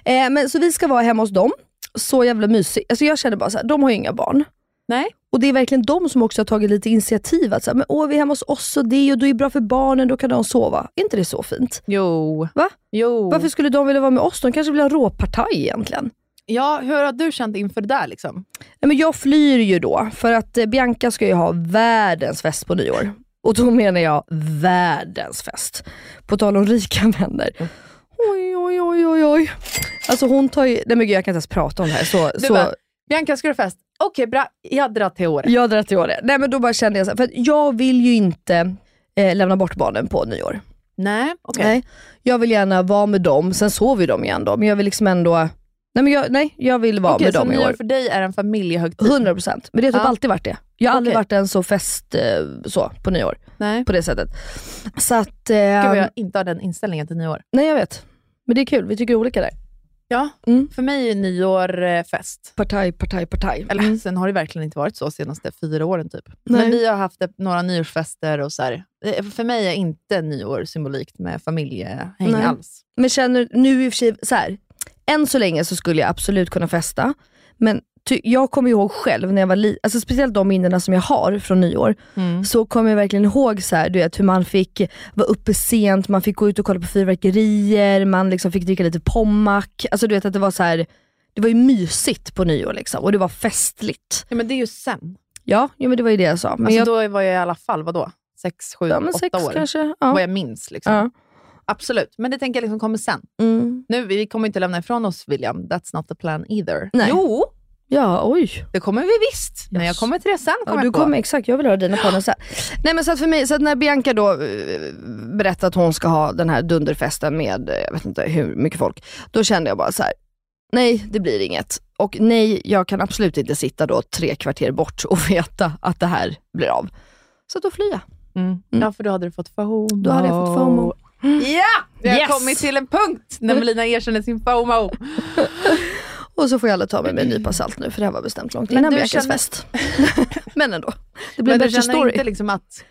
B: Ehm, men, så vi ska vara hemma hos dem. Så jävla mysigt. Alltså, jag känner bara så här, de har ju inga barn.
A: Nej.
B: Och det är verkligen de som också har tagit lite initiativ. Att så här, men, åh, vi är hemma hos oss och det och det är bra för barnen, då kan de sova. Är inte det så fint?
A: Jo.
B: Va?
A: Jo.
B: Varför skulle de vilja vara med oss? De kanske vill ha en råpartaj egentligen.
A: Ja, hur har du känt inför det där? Liksom?
B: Nej, men jag flyr ju då, för att eh, Bianca ska ju ha världens fest på nyår. Och då menar jag världens fest. På tal om rika vänner.
A: Mm.
B: Oj, oj, oj, oj, oj. Alltså hon tar ju... Nej men gud, jag kan inte ens prata om det här. Så,
A: Du
B: så,
A: bara, Bianca, ska du fest? Okej, bra. Jag drar till året.
B: jag drar till det. Nej men då bara kände jag så här, för att jag vill ju inte eh, lämna bort barnen på nyår.
A: Nej, okej.
B: Nej. Jag vill gärna vara med dem, sen sover ju de igen då. Men jag vill liksom ändå... Nej, men jag, nej, jag vill vara
A: Okej,
B: med
A: så
B: dem i år.
A: nyår för dig är en familjehögtid?
B: 100 procent. Men det har typ
A: Ja.
B: alltid varit det. Jag har aldrig
A: Okej.
B: varit en så fest eh, så, på nyår.
A: Nej.
B: På det sättet. Så att...
A: Gud
B: Eh,
A: vad jag inte har den inställningen till nyår.
B: Nej jag vet. Men det är kul, vi tycker olika där.
A: Ja,
B: Mm.
A: för mig är nyår eh, fest.
B: Partaj, partaj, partaj.
A: Eller sen har det verkligen inte varit så de senaste fyra åren typ.
B: Mm. Nej.
A: Men vi har haft eh, några nyårsfester och så här. Eh, För mig är inte nyår symbolikt med familjehäng
B: Nej.
A: alls.
B: Men känner nu i och för sig, så här, än så länge så skulle jag absolut kunna festa. Men ty, jag kommer ihåg själv när jag var liten, alltså speciellt de minnena som jag har från nyår,
A: Mm.
B: så kommer jag verkligen ihåg så här, du vet, hur man fick vara uppe sent, man fick gå ut och kolla på fyrverkerier, man liksom fick dricka lite pommac. Alltså du vet att det var så här, det var ju mysigt på nyår liksom, och det var festligt.
A: Ja, men det är ju sen.
B: Ja, ja men det var ju det jag sa. Men
A: Alltså,
B: jag,
A: Då var jag i alla fall, vadå? Sex, sju,
B: ja, men
A: åtta
B: sex
A: år.
B: kanske. Ja.
A: Vad jag minns. Liksom.
B: Ja.
A: Absolut, men det tänker jag liksom kommer sen.
B: Mm.
A: Nu, vi kommer inte lämna ifrån oss William. That's not the plan either.
B: Nej.
A: Jo,
B: ja, oj.
A: det kommer vi visst. Men jag
B: Yes.
A: kommer till det sen.
B: Ja,
A: Kommer
B: du
A: jag på.
B: kommer, exakt, jag vill höra dina planer sen. Nej, men så att för mig, så att när Bianca då eh, berättade att hon ska ha den här dunderfesten med, eh, jag vet inte hur mycket folk, då kände jag bara så här: nej det blir inget. Och nej, jag kan absolut inte sitta då tre kvarter bort och veta att det här blir av. Så att då flyr jag.
A: Mm. Ja, för då hade du fått FOMO.
B: Då hade jag fått FOMO.
A: Ja! Vi har
B: Yes!
A: kommit till en punkt när Melina erkänner sin FOMO.
B: Och så får jag alla ta med mig en nypa salt nu, för det här var bestämt långt
A: Men
B: innan
A: du
B: Biancas
A: känner-
B: fest. men ändå, det blir
A: Men
B: en
A: du
B: bättre
A: känner
B: story.
A: inte liksom att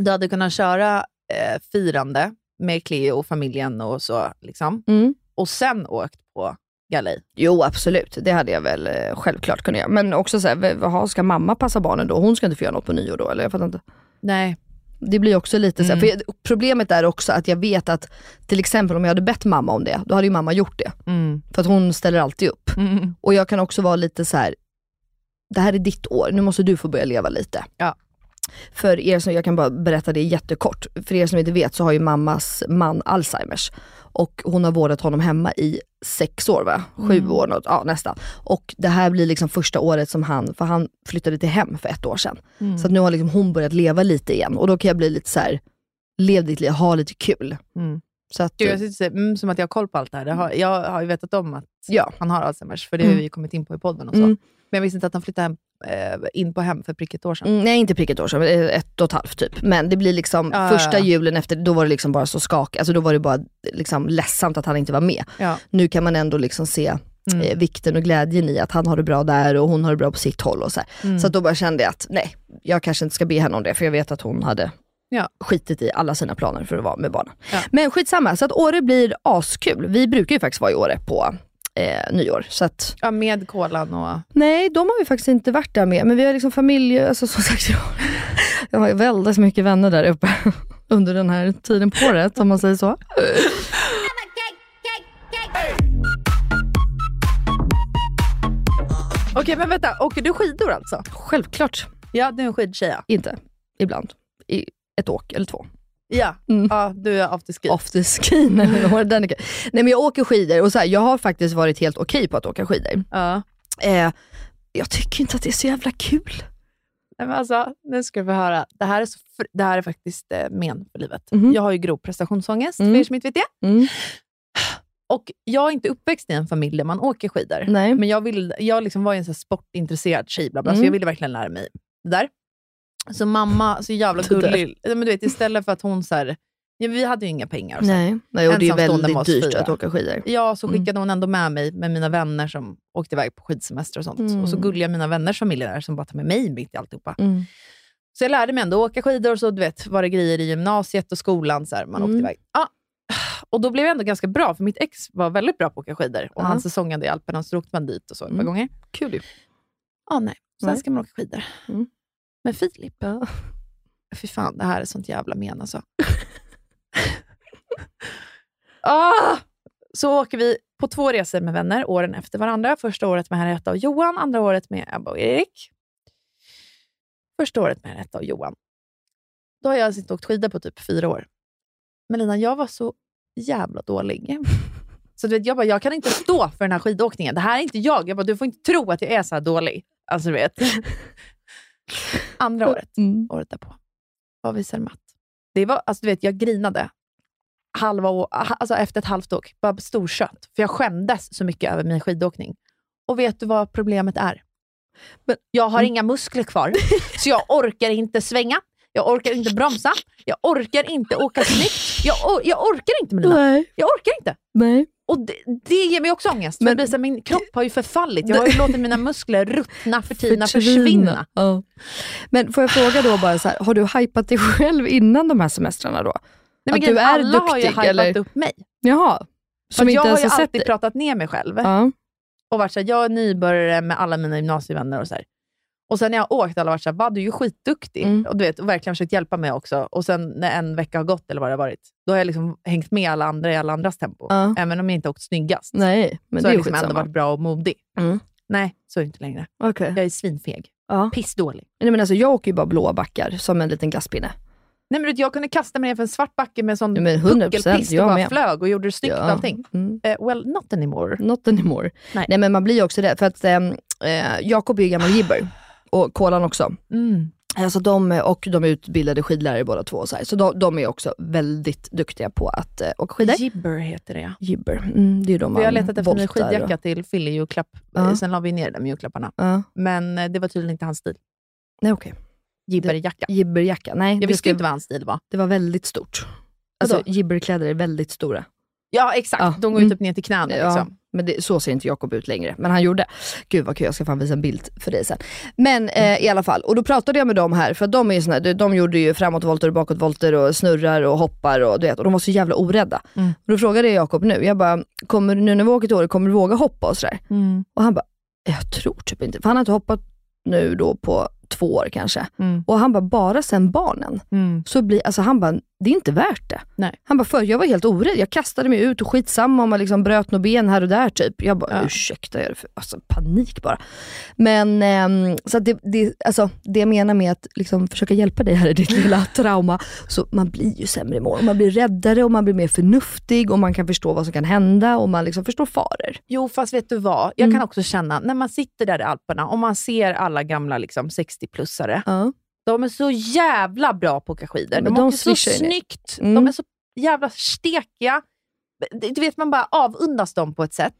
A: du hade kunnat köra eh, firande med Cleo och familjen och så, liksom.
B: Mm.
A: och sen åkt på galej?
B: Jo absolut, det hade jag väl eh, självklart kunnat göra. Men också såhär, vad ska mamma passa barnen då? Hon ska inte få göra något på nyår då? Eller jag fattar inte.
A: Nej.
B: Det blir också lite såhär,
A: Mm.
B: för jag, problemet är också att jag vet att till exempel om jag hade bett mamma om det, då hade ju mamma gjort det.
A: Mm.
B: För att hon ställer alltid upp.
A: Mm.
B: Och jag kan också vara lite så här. det här är ditt år, nu måste du få börja leva lite.
A: Ja.
B: För er som, jag kan bara berätta det jättekort, för er som inte vet så har ju mammas man Alzheimers. Och hon har vårdat honom hemma i sex år va? Sju
A: Mm.
B: år, något, ja nästan. Och det här blir liksom första året som han, för han flyttade till hem för ett år sedan.
A: Mm.
B: Så att nu har liksom hon börjat leva lite igen och då kan jag bli lite så här: lev ditt liv, ha lite kul.
A: Mm.
B: Så att,
A: Gud, jag sitter och säger, mm, som att jag har koll på allt det här. Jag har, jag har ju vetat om att
B: ja.
A: han har Alzheimers, för det har vi ju kommit in på i podden och så.
B: Mm.
A: Men jag visste inte att han flyttade hem, eh, in på hem för prick ett år sedan.
B: Mm, nej inte prick ett år sedan, men ett och ett halvt typ. Men det blir liksom
A: Ja,
B: första
A: ja, ja.
B: julen efter, då var det liksom bara så skak, alltså då var det bara liksom ledsamt att han inte var med.
A: Ja.
B: Nu kan man ändå liksom se
A: Mm.
B: eh, vikten och glädjen i att han har det bra där och hon har det bra på sitt håll och så här.
A: Mm.
B: Så att då bara kände jag att nej, jag kanske inte ska be henne om det för jag vet att hon hade
A: Ja.
B: skitit i alla sina planer för att vara med barnen.
A: Ja.
B: Men skitsamma, så att Åre blir askul. Vi brukar ju faktiskt vara i Åre på eh, nyår. Så att
A: Ja, med kolan och...
B: Nej, de har vi faktiskt inte varit där med. Men vi har liksom familj, alltså som sagt, jag, jag har ju väldigt mycket vänner där uppe under den här tiden på året, om man säger så.
A: Okej, men vänta. Åker du skidor alltså?
B: Självklart
A: Ja, du är en skidtjej. ja.
B: inte, ibland. I ett åk eller två.
A: Ja,
B: Mm.
A: ja du är afterski.
B: Afterskin eller
A: Mm.
B: några, den är kul. Nej men jag åker skidor och så här, jag har faktiskt varit helt okej på att åka skidor.
A: Ja.
B: Eh, Jag tycker inte att det är så jävla kul.
A: Nej, men alltså, nu ska du få höra. Det här är, så fr- det här är faktiskt eh, men för livet.
B: Mhm.
A: Jag har ju grov prestationsångest,
B: Mm.
A: för er som inte vet det.
B: Mm.
A: Och jag är inte uppväxt i en familj där man åker skidor.
B: Nej.
A: Men jag, vill, jag liksom var ju en så här sportintresserad tjej, bla bla,
B: Mm.
A: så jag ville verkligen lära mig det där. Så mamma, så jävla
B: Det där.
A: gullig. Nej, Men du vet, istället för att hon så här, ja, Vi hade ju inga pengar. Och så.
B: Nej. Nej, och det är ju
A: Ensamstående med
B: väldigt
A: oss
B: dyrt
A: fyra.
B: att åka skidor.
A: Ja, så
B: Mm.
A: skickade hon ändå med mig med mina vänner som åkte iväg på skidsemester och sånt.
B: Mm.
A: Och så gulliga mina vänners familjer där som bara tar med mig mitt i alltihopa. Så jag lärde mig ändå åka skidor och så du vet, var det grejer i gymnasiet och skolan. Så här, man
B: Mm.
A: åkte iväg. Ja. Och då blev jag ändå ganska bra, för mitt ex var väldigt bra på att åka skidor. Och
B: Ja.
A: Han säsongade i Alperna, så då åkte man dit och så ett
B: Mm.
A: par gånger.
B: Kul ju.
A: Ja, nej. Sen
B: Nej.
A: ska man åka skidor.
B: Mm.
A: Med Filip. Fy fan, det här är sånt jävla men alltså. ah! Så åker vi på två resor med vänner, åren efter varandra. Första året med Henrietta och Johan, andra året med Ebba och Erik. Första året med Henrietta och Johan. Då har jag alltså inte åkt skidor på typ fyra år. Men Lina, jag var så jävla dålig. Så du vet, jag bara, jag kan inte stå för den här skidåkningen. Det här är inte jag. Jag bara, du får inte tro att jag är så här dålig. Alltså du vet. Andra året,
B: Mm.
A: året därpå, var vi i Zermatt. Det var, alltså du vet, jag grinade. Halva år, alltså efter ett halvt åk, bara storkött. För jag skämdes så mycket över min skidåkning. Och vet du vad problemet är?
B: Men-
A: jag har inga muskler kvar, så jag orkar inte svänga. Jag orkar inte bromsa. Jag orkar inte åka snyggt. Jag, or- jag orkar inte, Melina.
B: Nej.
A: Jag orkar inte.
B: Nej.
A: Och det, det ger mig också ångest. för
B: Men-
A: det blir så här, min kropp har ju förfallit. Jag har ju låtit mina muskler ruttna, förtina, försvinna.
B: Förtvina. Ja. Men får jag fråga då bara så här, har du hypat dig själv innan de här semestrarna då?
A: Nej, men
B: Att du
A: grejen,
B: är
A: alla har ju
B: duktig,
A: hypat
B: eller?
A: upp mig.
B: Jaha.
A: Som
B: Som
A: jag
B: inte
A: har
B: ens
A: ju
B: har sett
A: alltid
B: dig?
A: pratat ner mig själv.
B: Ja.
A: Och varit så här, jag är nybörjare med alla mina gymnasievänner. Och så här. Och sen när jag har åkt alla har varit så här, "Va, du är ju skitduktig.
B: Mm.
A: Och, du vet, och verkligen försökt hjälpa mig också. Och sen när en vecka har gått, eller vad det har varit, då har jag liksom hängt med alla andra i alla andras tempo.
B: Ja.
A: Även om jag inte åkt snyggast.
B: Nej, men
A: så
B: det
A: har
B: är
A: jag
B: ju
A: liksom ändå
B: skitsamma.
A: varit bra och modig.
B: Mm.
A: Nej, så är det inte längre.
B: Okej.
A: Jag är svinfeg.
B: Ja.
A: Pissdålig.
B: Nej, men alltså, jag åker ju bara blåa backar som en liten glasspinne.
A: Nej, men du, vet, jag kunde kasta mig ner för en svart backe med en sån
B: Ja, men 100%,
A: puckelpist och
B: jag
A: bara
B: med.
A: flög och gjorde det snyggt
B: Ja.
A: och allting.
B: Mm.
A: Eh, well, not anymore.
B: Not anymore.
A: Nej.
B: Nej men man blir ju också det, för att ehm, eh, Jakob är ju gammal jibber och Kolan också.
A: Mm.
B: Alltså de, och de är utbildade skidlärare båda två, och så, här. så de, de är också väldigt duktiga på att eh, åka skidor.
A: Jibber heter det, ja.
B: Jibber, mm, det är ju de
A: För
B: man
A: jag har letat efter en ny
B: voltar och-
A: skidjacka till Fille julklapp.
B: Ja.
A: Eh, Sen la vi ner den med julklapparna.
B: Ja.
A: Men eh, det var tydligen inte hans stil.
B: Nej okej,
A: Jibberjacka.
B: jibberjacka. Nej,
A: Jag
B: det,
A: visste
B: ska,
A: ju inte vad hans stil var.
B: det var väldigt stort. Alltså
A: Vadå?
B: jibberkläder är väldigt stora.
A: Ja, exakt.
B: Ja.
A: De går ju
B: Mm.
A: typ ner till knäna.
B: Ja,
A: Liksom.
B: men det, så ser inte Jakob ut längre. Men han gjorde. Gud vad kul, jag ska fan visa en bild för dig sen. Men
A: Mm.
B: eh, i alla fall, och då pratade jag med dem här, för de är ju såna, här- de, de gjorde ju framåtvolter och bakåtvolter och snurrar och hoppar och du vet, och de var så jävla orädda.
A: Mm.
B: Och då frågade jag Jakob nu, jag bara, kommer, du- nu när vi åker till Åre, kommer du våga hoppa och sådär?
A: Mm.
B: Och han bara, jag tror typ inte, för han har inte hoppat nu då på två år kanske.
A: Mm.
B: Och han bara, bara sen barnen
A: Mm.
B: så blir, alltså han bara, det är inte värt det.
A: Nej.
B: Han bara, förr jag var helt orädd, jag kastade mig ut och skitsamma om jag liksom bröt något ben här och där typ. Jag bara,
A: Ja.
B: ursäkta, jag är för, alltså panik bara. Men ehm, så att det, det, alltså, det jag menar med att liksom försöka hjälpa dig här i ditt lilla trauma, så man blir ju sämre i morgon. Man blir räddare och man blir mer förnuftig och man kan förstå vad som kan hända och man liksom förstår faror.
A: Jo, fast vet du vad? Jag
B: Mm.
A: kan också känna, när man sitter där i Alperna och man ser alla gamla liksom, 60-plussare.
B: Ja.
A: De är så jävla bra på att åka skidor.
B: Men
A: De,
B: de
A: åker så
B: swishar ju ner.
A: snyggt.
B: Mm.
A: De är så jävla stekiga. Det- Du vet, man bara avundas dem på ett sätt.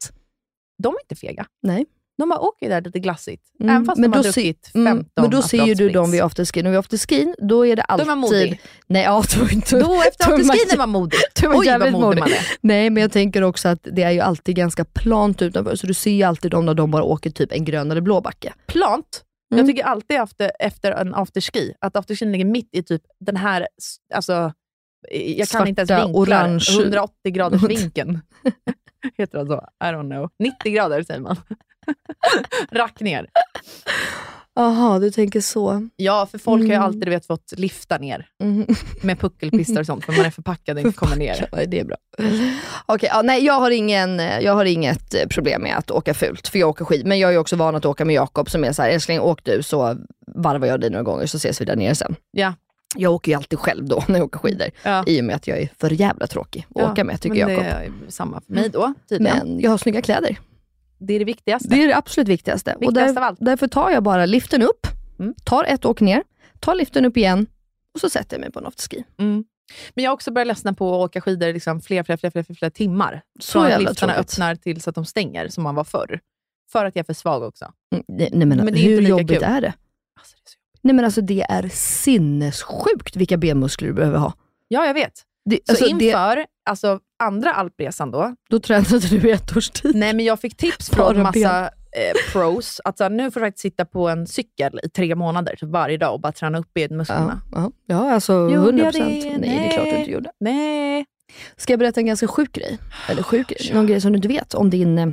A: De är inte fega.
B: Nej.
A: De bara åker där lite glassigt.
B: Mm,
A: Även fast
B: men
A: de har
B: då ser-
A: druckit 15
B: Mm, men då ser ju du dem vid afterskin och vid afterskin då är det alltid...
A: Då är man modig.
B: Nej, ja, då, då,
A: Då efter
B: då är man-
A: afterskin är man modig.
B: då är man
A: Oj, vad
B: jävligt
A: modig
B: modig.
A: man är.
B: Nej men jag tänker också att det är ju alltid ganska plant utanför, så du ser ju alltid dem när de bara åker typ en grön eller blå backe.
A: Plant.
B: Mm.
A: Jag tycker alltid efter, efter en afterski, att afterskin ligger mitt i typ den här, s- alltså, eh, jag kan inte ens
B: Svarta,
A: vinkla,
B: orange.
A: 180 graders vinkeln. Heter det så? I don't know. 90 grader säger man. Rack ner.
B: Jaha, du tänker så.
A: Ja, för folk har ju
B: Mm.
A: alltid du vet, fått lyfta ner
B: Mm.
A: med puckelpistar och sånt, för man är förpackad och inte kommer ner.
B: Ja, det är bra. Okej, ja, nej jag har, ingen, jag har inget eh, problem med att åka fult, för jag åker skid. Men jag är ju också van att åka med Jakob som är så här, älskling åk du så varvar jag dig några gånger så ses vi där nere sen.
A: Ja.
B: Jag åker ju alltid själv då när jag åker skidor,
A: Ja.
B: i och med att jag är för jävla tråkig att
A: Ja,
B: åka med tycker
A: Men
B: Jakob.
A: Det är samma för mig då, tydligen.
B: Men jag har snygga kläder.
A: det är det viktigaste.
B: Det är det absolut viktigaste. och
A: Viktigast av allt.
B: Därför tar jag bara liften upp,
A: Mm.
B: tar ett åk ner, tar liften upp igen och så sätter jag mig på en afterski.
A: Mm. Men jag har också börjat ledsna på att åka skidor liksom fler, fler, fler, fler, fler, fler timmar.
B: Så
A: Från att
B: jävla
A: liftarna
B: tråkigt.
A: öppnar tills att de stänger, som man var förr. För att jag är för svag också.
B: Mm, Nej, nej, men,
A: Men det är ju inte
B: hur
A: lika
B: jobbigt
A: kul.
B: är det?
A: Alltså, det är så...
B: Nej men alltså det är sinnessjukt vilka benmuskler du behöver ha.
A: Ja, jag vet.
B: Det,
A: Så
B: alltså, det,
A: inför alltså, andra alpresan då,
B: då tränade du i ett års tid.
A: Nej, men jag fick tips
B: Bara
A: från massa eh, pros att så här, nu får du faktiskt sitta på en cykel i tre månader typ varje dag och bara träna upp
B: Ja,
A: benmusklerna.
B: ja, ja alltså
A: Gjorde
B: 100
A: jag det?
B: procent. Nej, det är klart du inte gjorde.
A: Nej.
B: Ska jag berätta en ganska sjuk grej? Eller sjuk grej, någon grej som du inte vet om din, eh,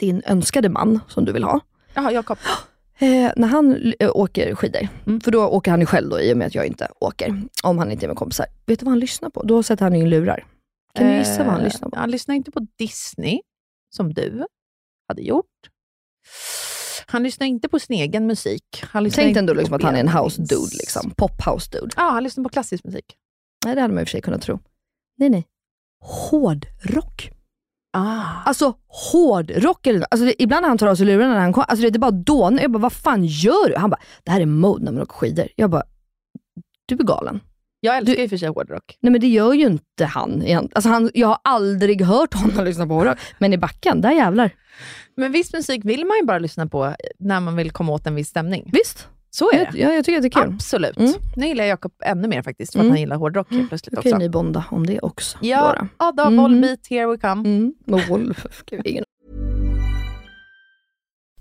B: din önskade man som du vill ha.
A: Jaha, Jakob.
B: Eh, när han eh, åker skidor,
A: Mm.
B: för då åker han ju själv då, i och med att jag inte åker, om han inte är med kompisar. Vet du vad han lyssnar på? Då sätter han in lurar. Kan du gissa vad han
A: Eh,
B: lyssnar på?
A: Han lyssnar inte på Disney, som du hade gjort. Han lyssnar inte på sin egen musik. Han lyssnar
B: Tänk
A: inte
B: ändå
A: på
B: liksom att han är en
A: Beatles.
B: house dude, liksom. pop house dude.
A: Ja, han lyssnar på klassisk musik.
B: Nej, det hade man i och för sig kunnat tro. Nej, nej. Hårdrock.
A: Ah.
B: Alltså hårdrock. eller- Alltså, det, ibland när han tar av sig lurarna när han kommer, alltså, det, det bara dånar. Jag bara, vad fan gör du? Han bara, det här är mode när man åker skidor. Jag bara, du är galen.
A: Jag älskar ju i och för sig hårdrock.
B: Nej men det gör ju inte han. egent- Alltså han jag har aldrig hört honom lyssna på hårdrock. Men i backen, där jävlar.
A: Men viss musik vill man ju bara lyssna på eh, när man vill komma åt en viss stämning.
B: Visst,
A: Så är det.
B: jag, jag, jag tycker att det är kul.
A: Absolut.
B: Mm.
A: Nu gillar jag Jakob ännu mer faktiskt, för att
B: Mm.
A: han gillar hårdrock helt plötsligt
B: Då kan ju
A: också.
B: ni bonda om det också.
A: Ja,
B: Bara.
A: Ada,
B: Mhm.
A: Volbeat, here we come.
B: Mm. Och Wolf, ingen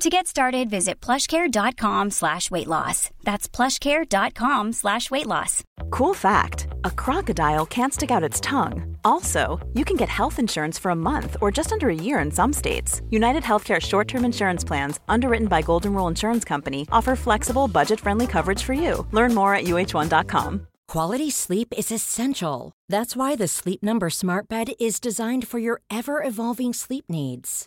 C: To get started, visit plushcare.com slash weight loss. That's plushcare.com slash weight loss.
D: Cool fact a crocodile can't stick out its tongue. Also, you can get health insurance for a month or just under a year in some states. United Healthcare short term insurance plans, underwritten by Golden Rule Insurance Company, offer flexible, budget friendly coverage for you. Learn more at uh1.com.
E: Quality sleep is essential. That's why the Sleep Number Smart Bed is designed for your ever evolving sleep needs.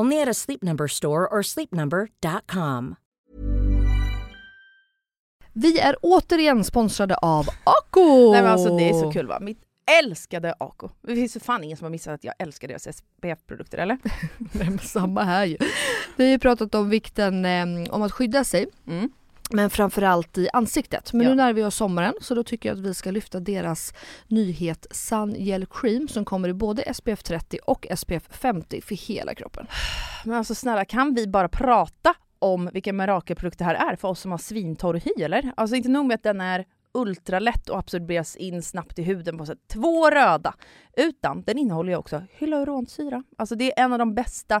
E: Only at a Sleep Number store or sleepnumber.com.
B: Vi är återigen sponsrade av Ako!
A: Nej, men alltså, det är så kul va? Mitt älskade Ako. Det finns ju fan ingen som har missat att jag älskar deras SPF-produkter, eller?
B: Nej, men samma här ju. Vi har ju pratat om vikten eh, om att skydda sig.
A: Mm.
B: Men framförallt i ansiktet. Men
A: Ja.
B: nu när vi har sommaren så då tycker jag att vi ska lyfta deras nyhet Sun Gel Cream som kommer i både SPF 30 och SPF 50 för hela kroppen.
A: Men alltså snälla, kan vi bara prata om vilken mirakelprodukt det här är för oss som har svintorr hy, eller? Alltså inte nog med att den är ultralätt och absorberas in snabbt i huden på så här, två röda, utan den innehåller ju också hyaluronsyra. Alltså det är en av de bästa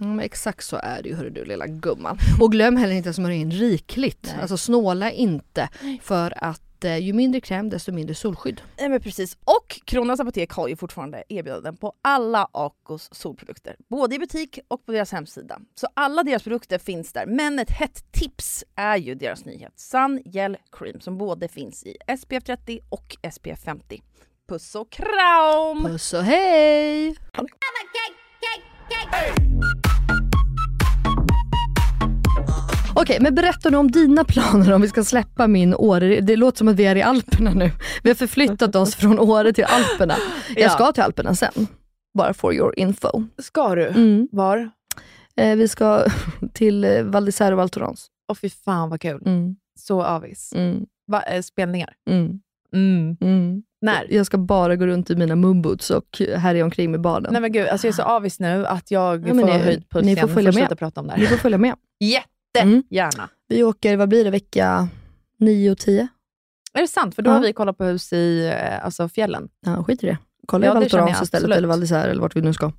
B: Mm, men exakt så är det ju hörru du lilla gumman. Och glöm heller inte att smörja in rikligt. Alltså snåla inte för att eh, ju mindre kräm desto mindre solskydd.
A: Nej men precis. Och Kronans Apotek har ju fortfarande erbjudanden på alla Acos solprodukter. Både i butik och på deras hemsida. Så alla deras produkter finns där. Men ett hett tips är ju deras nyhet Sun Gel Cream som både finns i SPF 30 och SPF 50. Puss och kram!
B: Puss och hej!
C: Cake, cake, cake.
B: Okej Okej, men berätta nu om dina planer om vi ska släppa min Åre. Det låter som att vi är i Alperna nu. Vi har förflyttat oss från Åre till Alperna. Jag
A: Ja.
B: ska till Alperna sen. Bara for your info.
A: Ska du?
B: Mm.
A: Var?
B: Eh, vi ska till eh, Val d'Isère och Val Thorens.
A: Åh fy fan vad kul.
B: Mm,
A: Så avis.
B: mm,
A: Va, eh, spelningar?
B: mm, mm.
A: När?
B: Jag ska bara gå runt i mina mumbuts och härja omkring med barnen.
A: Nej men gud, alltså jag är så avis nu att jag
B: Ja, men
A: får
B: det-
A: höjd puls
B: ni
A: igen.
B: får
A: Vi
B: följa med.
A: sluta prata om det
B: Ni
A: här.
B: får följa med. Mm.
A: Jättegärna.
B: Vi åker, vad blir det, vecka 9 och 10?
A: Är det sant? För då
B: Ja.
A: har vi kollat på hus i eh, alltså, fjällen.
B: Ja, skit i det. Kolla i
A: Ja, det
B: Val
A: känner jag
B: Thorens istället,
A: absolut. Mm.
B: eller Val d'Isère, eller vart vi nu ska.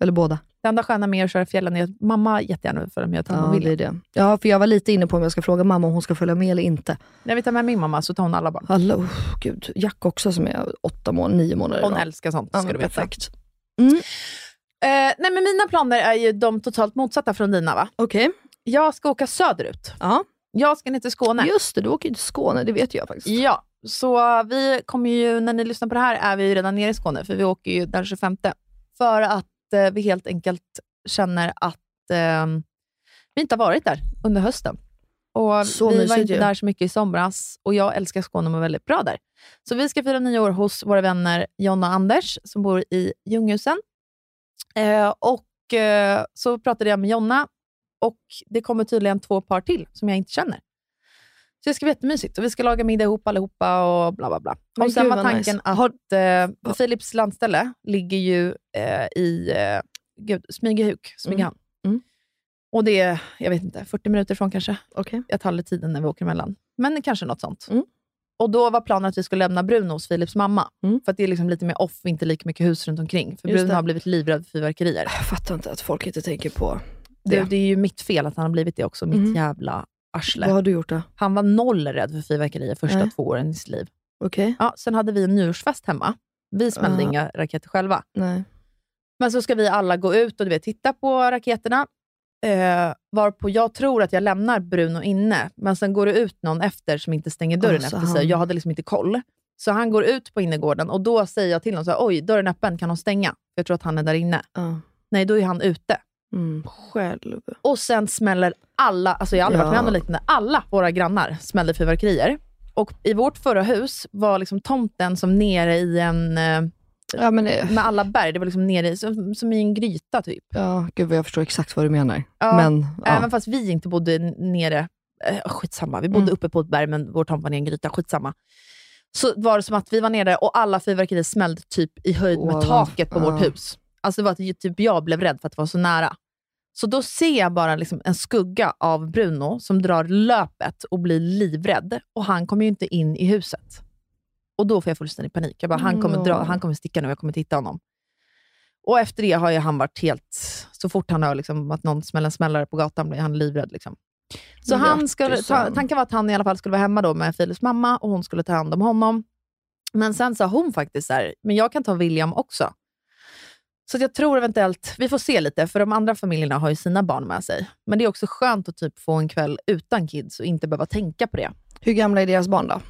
B: Eller båda.
A: Det enda sköna med att köra i fjällen är att mamma jättegärna vill följa med till
B: Ja,
A: hon
B: det är
A: vill.
B: det. ja, för jag var lite inne på om jag ska fråga mamma om hon ska följa med eller inte.
A: När vi tar med min mamma så tar hon alla barn.
B: Alla, oh, gud. Jack också som är åtta månader, nio månader
A: Hon
B: idag.
A: älskar sånt,
B: Ja,
A: ska
B: men
A: du veta.
B: Perfekt.
A: Eh, nej, men mina planer är ju de totalt motsatta från dina. va?
B: Okej.
A: Jag ska åka söderut.
B: Ja.
A: Jag ska ner till Skåne.
B: Just det, du åker ju till Skåne, det vet jag faktiskt.
A: Ja, så vi kommer ju, när ni lyssnar på det här är vi ju redan nere i Skåne, för vi åker ju den 25. För att eh, vi helt enkelt känner att eh, vi inte har varit där under hösten. Och
B: Så
A: Vi var
B: mysigt
A: inte
B: ju.
A: där så mycket i somras och jag älskar Skåne och mår väldigt bra där. Så vi ska fira nyår hos våra vänner Jonna och Anders som bor i Ljunghusen. Eh, och eh, så pratade jag med Jonna och det kommer tydligen två par till som jag inte känner. Så det ska bli jättemysigt och vi ska laga middag ihop allihopa och bla bla bla.
B: Men
A: och sen
B: gud,
A: var
B: vad
A: tanken
B: nice.
A: att eh, Philips landställe ligger ju eh, i eh, gud, Smygehuk, Smygehamn.
B: Mm.
A: Och det är, jag vet inte, 40 minuter från kanske.
B: Okej.
A: Jag tar lite tiden när vi åker emellan. Men kanske något sånt.
B: Mm.
A: Och då var planen att vi skulle lämna Bruno hos Philips mamma.
B: Mm.
A: För att det är liksom lite mer off, inte lika mycket hus runt omkring. För
B: Just
A: Bruno
B: det.
A: har blivit livrädd för fyrverkerier.
B: Jag fattar inte att folk inte tänker på
A: Det.
B: det.
A: Det, är ju mitt fel att han har blivit det också. Mitt
B: Mm.
A: jävla
B: Vad
A: arsle.
B: har du gjort då?
A: Han var noll rädd för fyrverkerier första
B: Nej.
A: två åren i sitt liv.
B: Okej.
A: Ja, sen hade vi en nyårsfest hemma. Vi smällde
B: Ah.
A: inga raketer själva.
B: Nej.
A: Men så ska vi alla gå ut och du vet, titta på raketerna. Eh, varpå jag tror att jag lämnar Bruno inne, men sen går det ut någon efter som inte stänger dörren
B: så
A: efter sig.
B: Alltså, han-
A: Jag hade liksom inte koll. Så han går ut på innergården och då säger jag till honom, så här, oj, dörren är öppen, kan hon stänga? Jag tror att han är där inne.
B: Ja.
A: Nej, då är han ute.
B: Mm. Själv.
A: Och sen smäller alla, alltså jag har aldrig varit med
B: Ja.
A: om något liknande, alla våra grannar smällde fyrverkerier. Och i vårt förra hus var liksom tomten som nere i en, eh,
B: Ja, men eh, det...
A: med alla berg, det var liksom nere i, som, som i en gryta typ.
B: Ja, gud vad jag förstår exakt vad du menar.
A: Ja,
B: Men, ja.
A: Även fast vi inte bodde n- nere, eh, skitsamma, vi bodde
B: Mm.
A: uppe på ett berg men vår tomt var nere i en gryta, skitsamma. Så var det som att vi var nere där och alla fyrverkerier smällde typ i höjd med
B: Ovan.
A: taket på
B: Ja.
A: vårt hus. Alltså det var att ju- typ jag blev rädd för att det var så nära. Så då ser jag bara liksom en skugga av Bruno som drar löpet och blir livrädd. Och han kommer ju inte in i huset. Och då får jag fullständig panik. Jag bara, han kommer, dra,
B: Ja.
A: han kommer sticka nu, jag kommer titta honom. Och efter det har ju han varit helt... Så fort han hör liksom att någon smäller en smällare på gatan blir han livrädd. Liksom. Så
B: Mm,
A: han skulle, ta,
B: Grattis.
A: tanken var att han i alla fall skulle vara hemma då med Philips mamma och hon skulle ta hand om honom. Men sen sa hon faktiskt så här, men jag kan ta William också. Så att jag tror eventuellt, vi får se lite, för de andra familjerna har ju sina barn med sig. Men det är också skönt att typ få en kväll utan kids och inte behöva tänka på det.
B: Hur gamla är deras barn då?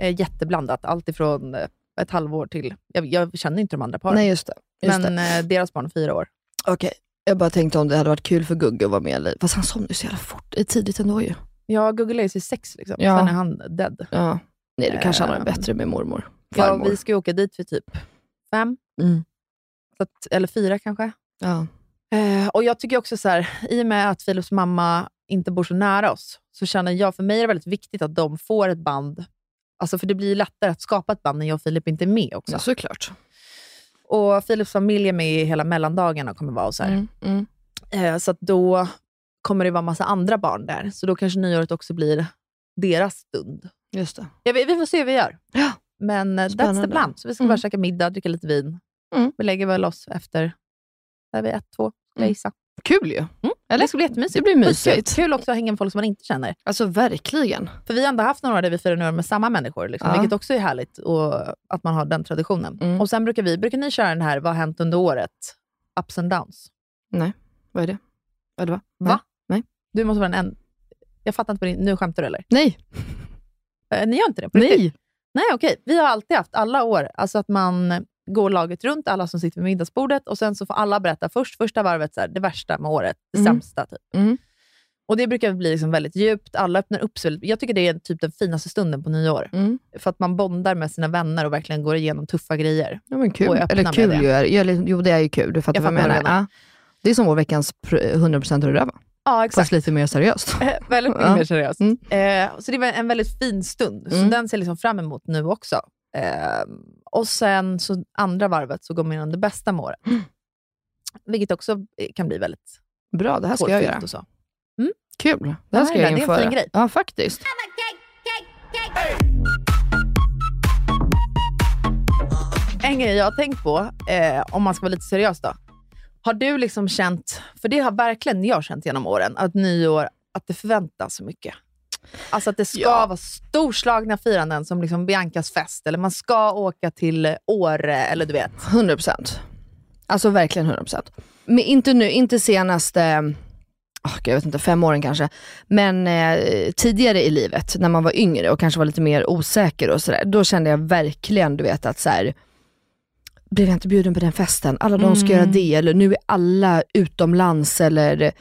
A: Eh, jätteblandat, allt ifrån eh, ett halvår till, jag, jag känner inte de andra paren,
B: Nej, just det. Just
A: men
B: det.
A: eh, deras barn är fyra år.
B: Okej, jag bara tänkte om det hade varit kul för Gugge att vara med i Fast han somnade ju så jävla fort, eh, tidigt ändå ju.
A: Jag googlar ju sig sex, liksom.
B: Ja.
A: sen är han dead.
B: Ja. Nej, du kanske hade
A: Ehm.
B: det bättre med mormor.
A: Ja,
B: Farmor.
A: vi ska ju åka dit vid typ fem,
B: Mm.
A: så att, eller fyra kanske.
B: ja.
A: Eh, och jag tycker också så här, i och med att Philips mamma inte bor så nära oss, så känner jag, för mig är det väldigt viktigt att de får ett band. Alltså för det blir ju lättare att skapa ett band när jag och Filip inte är med också.
B: ja, såklart.
A: Och Philips familj är med i hela mellandagarna och kommer vara och så här.
B: Mm. Mm.
A: Eh, så att då kommer det vara massa andra barn där, så då kanske nyåret också blir deras stund.
B: Just det.
A: Ja, vi, vi får se hur vi gör.
B: Ja.
A: Men eh, that's
B: Spännande.
A: the plan. Så vi ska
B: Mm.
A: bara käka middag, dricka lite vin.
B: Mm.
A: Vi lägger väl oss efter, där vi ett, två, ska jag
B: Mm.
A: gissa.
B: Kul ju.
A: Det ska bli jättemysigt.
B: Det blir mysigt.
A: Kul också att hänga med folk som man inte känner.
B: Alltså verkligen.
A: För vi har ändå haft några år där vi firar nyår med samma människor, liksom,
B: Ja.
A: vilket också är härligt och att man har den traditionen.
B: Mm.
A: Och sen brukar vi, brukar ni köra den här, vad har hänt under året? Ups and downs.
B: Vad är det? Eller va?
A: Va?
B: Nej.
A: Du måste vara den en... Jag fattar inte, vad din- nu skämtar du eller?
B: Nej.
A: Eh, Ni gör inte det? på riktigt?
B: Nej.
A: Nej, okej. Vi har alltid haft, alla år, alltså att man går laget runt, alla som sitter vid middagsbordet, och sen så får alla berätta först, första varvet, så här, det värsta med året, det
B: Mm.
A: sämsta. Typ.
B: Mm.
A: Och Det brukar bli liksom väldigt djupt. Alla öppnar upp sig. väldigt- Jag tycker det är typ den finaste stunden på nyår.
B: Mm.
A: För att man bondar med sina vänner och verkligen går igenom tuffa grejer.
B: Ja, men
A: Och
B: kul.
A: öppna
B: Eller
A: med
B: kul
A: det.
B: ju är, ja, liksom- Jo, det är ju kul. Du fattar
A: Jag
B: vad jag
A: fattar
B: menar.
A: vad du menar.
B: Ja. Det är som vår veckans pr- 100% röva,
A: Ja,
B: fast lite mer seriöst.
A: Eh, Väldigt mycket
B: Ja.
A: mer seriöst.
B: Mm.
A: Eh, så det var en väldigt fin stund. Så
B: Mm.
A: den ser jag liksom fram emot nu också. Eh, och sen så andra varvet så går man igenom det bästa med året.
B: Mm.
A: Vilket också eh, kan bli väldigt
B: Bra, det här ska jag
A: tårtfyllt
B: göra.
A: Och så.
B: Kul. Det här ska jag
A: Laila, det är en
B: införa.
A: fin grej.
B: Ja, faktiskt.
A: En grej jag har tänkt på, eh, om man ska vara lite seriös då. Har du liksom känt, för det har verkligen jag känt genom åren, att nyår, att det förväntas så mycket. Alltså att det ska vara storslagna firanden som liksom Biancas fest, eller man ska åka till Åre, eller du vet.
B: 100%. Alltså verkligen 100%. Men inte nu, inte senaste, åh, gud, jag vet inte, fem åren kanske. Men eh, tidigare i livet, när man var yngre och kanske var lite mer osäker och sådär. Då kände jag verkligen, du vet att så här. blev jag inte bjuden på den festen? Alla de ska göra det, eller nu är alla utomlands eller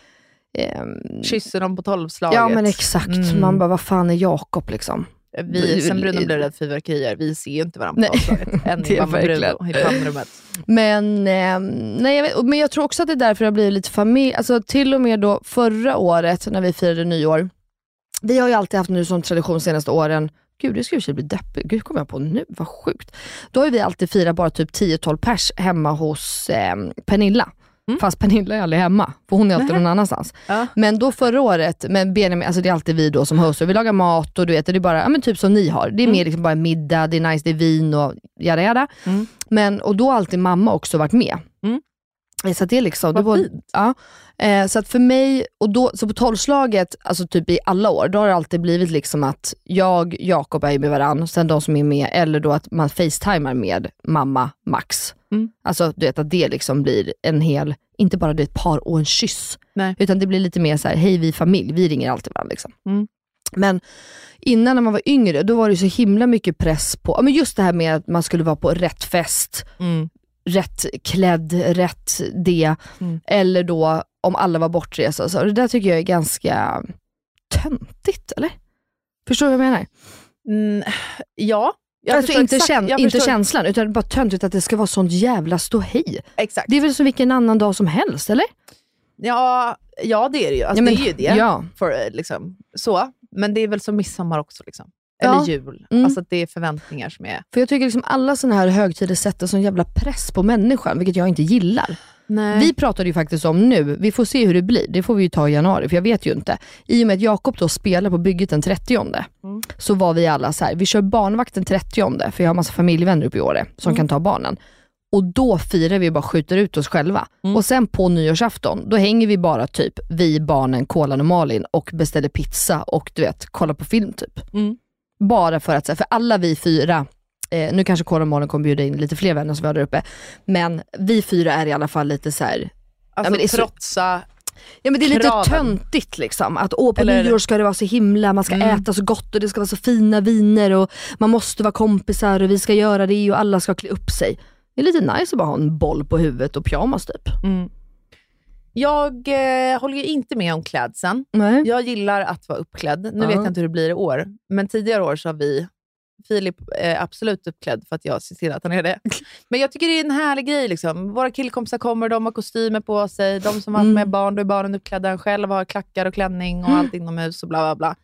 B: ehm,
A: Kysser dem på tolvslaget.
B: Ja men exakt,
A: Mm.
B: man bara, vad fan är Jakob liksom?
A: Vi, sen Bruno blev rädd för fyrverkerier. Vi ser ju inte varandra på
B: Nej,
A: tolvslaget. Än
B: det
A: i
B: är
A: mamma
B: verkligen.
A: Bruno i pannrummet.
B: Men, eh, nej, jag vet, men jag tror också att det är därför det har blivit lite familj. Alltså, till och med då förra året när vi firade nyår. Vi har ju alltid haft nu som tradition de senaste åren, gud det skulle ju bli deppigt, gud kommer jag på nu, vad sjukt. Då har ju vi alltid firat bara typ 10-12 pers hemma hos eh, Pernilla. Fast Pernilla är aldrig hemma, för hon är alltid någon annanstans.
A: Mm. Ja.
B: Men då förra året, men Benjamin, alltså det är alltid vi då som host, och vi lagar mat och du vet, det är bara ja, men typ som ni har.
A: Mm.
B: Det är mer liksom bara middag, det är nice, det är vin och jada jada. Men, och då har alltid mamma också varit med.
A: Mm.
B: Eh, Så att det är liksom,
A: Vad
B: det var, ja. eh, Så att för mig, och då, så på tolvslaget, alltså typ i alla år, då har det alltid blivit liksom att jag, Jakob är ju med varandra, sen de som är med, eller då att man facetimar med mamma, Max.
A: Mm.
B: Alltså du vet att det liksom blir en hel, inte bara det är ett par och en kyss,
A: Nej.
B: utan det blir lite mer så här, hej vi är familj, vi ringer alltid varandra. Liksom.
A: Mm.
B: Men innan när man var yngre, då var det så himla mycket press på, ja, men just det här med att man skulle vara på rätt fest, rätt klädd, rätt det.
A: Mm.
B: Eller då om alla var bortresta. Så det där tycker jag är ganska töntigt, eller? Förstår du vad jag menar?
A: Mm, ja. Jag
B: alltså
A: förstår
B: inte,
A: exakt-
B: kän-
A: jag
B: inte
A: förstår-
B: känslan, utan bara töntigt att det ska vara sånt jävla ståhej.
A: Exakt.
B: Det är väl som vilken annan dag som helst, eller?
A: Ja, ja, det är det ju. Alltså,
B: Ja, men-
A: det är ju det.
B: Ja.
A: För, eh, liksom, så. Men det är väl som midsommar också. Liksom.
B: Ja.
A: Eller jul.
B: Mm.
A: Alltså att det är förväntningar som är...
B: För jag tycker liksom alla sådana här högtider sätter sån jävla press på människan, vilket jag inte gillar. Vi pratade ju faktiskt om nu, vi får se hur det blir. Det får vi ju ta i januari, för jag vet ju inte. I och med att Jakob då spelar på bygget den 30 så var vi alla så här, vi kör barnvakt den 30 för jag har massa familjevänner uppe i Åre som kan ta barnen. Och då firar vi och bara skjuter ut oss själva. Och sen på nyårsafton, då hänger vi bara typ vi, barnen, Kolan och Malin och beställer pizza och du vet, kollar på film typ.
A: Mm.
B: Bara för att, så här, för alla vi fyra, eh, nu kanske Kolan och Malin kommer bjuda in lite fler vänner som vi har där uppe, men vi fyra är i alla fall lite så här,
A: Alltså
B: men det är så-
A: trotsa...
B: Ja men det är lite
A: kraven.
B: töntigt liksom. Att åh, på
A: Eller-
B: nyår ska det vara så himla, man ska äta så gott och det ska vara så fina viner och man måste vara kompisar och vi ska göra det och alla ska klä upp sig. Det är lite nice att bara ha en boll på huvudet och pyjamas typ.
A: mm. Jag eh, håller ju inte med om klädseln.
B: Nej.
A: Jag gillar att vara uppklädd. Nu
B: Ja.
A: vet jag inte hur det blir i år, men tidigare år så har vi... Filip är absolut uppklädd för att jag ser till att han är det. Men jag tycker det är en härlig grej. Liksom. Våra killkompisar kommer, de har kostymer på sig. De som har
B: Mm.
A: haft med barn, då är barnen uppklädda. Han själv har klackar och klänning och allt inomhus och bla bla bla.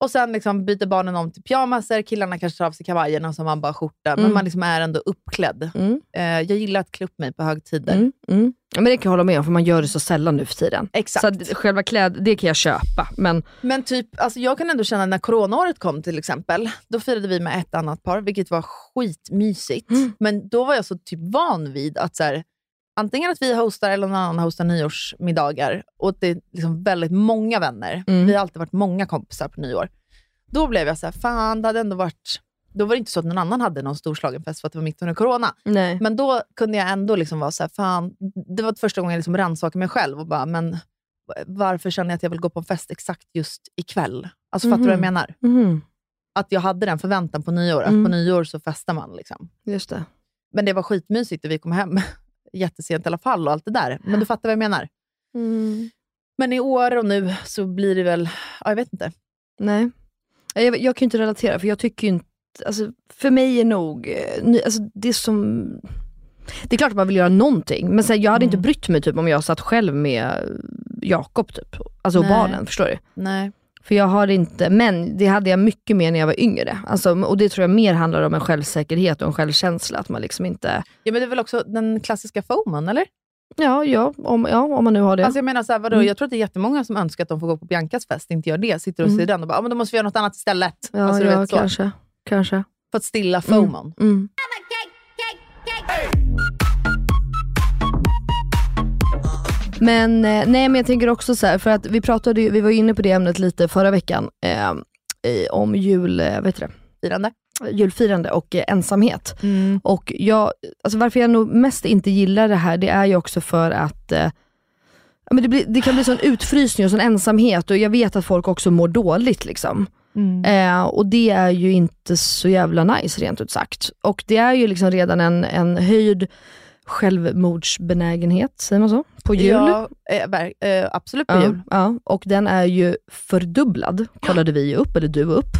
A: Och sen liksom byter barnen om till pyjamaser. Killarna kanske tar av sig kavajerna och så har man bara skjorta. Men
B: Mm.
A: man liksom är ändå uppklädd.
B: Mm.
A: Eh, jag gillar att klä upp mig på högtider.
B: Mm, mm. Ja, men det kan jag hålla med om för man gör det så sällan nu för tiden.
A: Exakt.
B: Så att själva kläd, det kan jag köpa. Men
A: Men typ, alltså jag kan ändå känna när coronaåret kom till exempel, då firade vi med ett annat par, vilket var skitmysigt. Men då var jag så typ van vid att så här, antingen att vi hostar eller någon annan hostar nyårsmiddagar och att det är liksom väldigt många vänner.
B: Mm.
A: Vi har alltid varit många kompisar på nyår. Då blev jag så här, fan det hade ändå varit... Då var det inte så att någon annan hade någon storslagen fest för att det var mitt under corona.
B: nej.
A: Men då kunde jag ändå liksom vara så här, fan, det var första gången jag liksom rannsakade mig själv och bara, men varför känner jag att jag vill gå på en fest exakt just ikväll? Alltså fattar du vad jag
B: Mhm.
A: menar?
B: Mm.
A: Att jag hade den förväntan på nyår, att
B: Mm.
A: på nyår så festar man. Liksom.
B: Just det.
A: Men det var
B: Mm.
A: skitmysigt och vi kom hem jättesent i alla fall och allt det där. Men du fattar vad jag menar? Men i år och nu så blir det väl, ja, jag vet inte.
B: Nej. Nej, Jag, jag kan ju inte relatera, för jag tycker ju inte... Alltså, för mig är nog... eh, ny- Alltså, det som... Det är klart att man vill göra någonting, men sen, jag hade
A: Mm.
B: inte brytt mig typ, om jag satt själv med eh, Jakob. Typ. Alltså och
A: Nej.
B: barnen, förstår du?
A: Nej.
B: För jag har inte, men det hade jag mycket mer när jag var yngre. Alltså, och det tror jag mer handlar om en självsäkerhet och en självkänsla. Att man liksom inte...
A: Ja, men det är väl också den klassiska foman, eller?
B: Ja, ja, om, ja, om man nu har det.
A: Alltså jag menar så här, vadå,
B: Mm.
A: jag tror att det är jättemånga som önskar att de får gå på Biancas fest, inte gör det, sitter och
B: Mm.
A: ser den och bara, ah, men då måste vi göra något annat istället.
B: ja,
A: alltså, du
B: ja
A: vet, så.
B: kanske. kanske.
A: För att stilla foman.
B: Mm. Men, eh, nej, men jag tänker också så här, för att vi pratade ju, vi var ju inne på det ämnet lite förra veckan, eh, i, om jul, eh, vad heter
A: Firande.
B: det? julfirande och eh, ensamhet.
A: Mm.
B: Och jag, alltså varför jag nog mest inte gillar det här, det är ju också för att eh, ja, men det, blir, det kan bli sån utfrysning och sån ensamhet och jag vet att folk också mår dåligt. Liksom.
A: Mm.
B: Eh, och det är ju inte så jävla nice rent ut sagt. Och det är ju liksom redan en, en höjd självmordsbenägenhet, säger man så? På jul.
A: Ja, eh, ver- eh, absolut på
B: Ja,
A: jul.
B: ja, och den är ju fördubblad, kollade vi upp, eller du upp,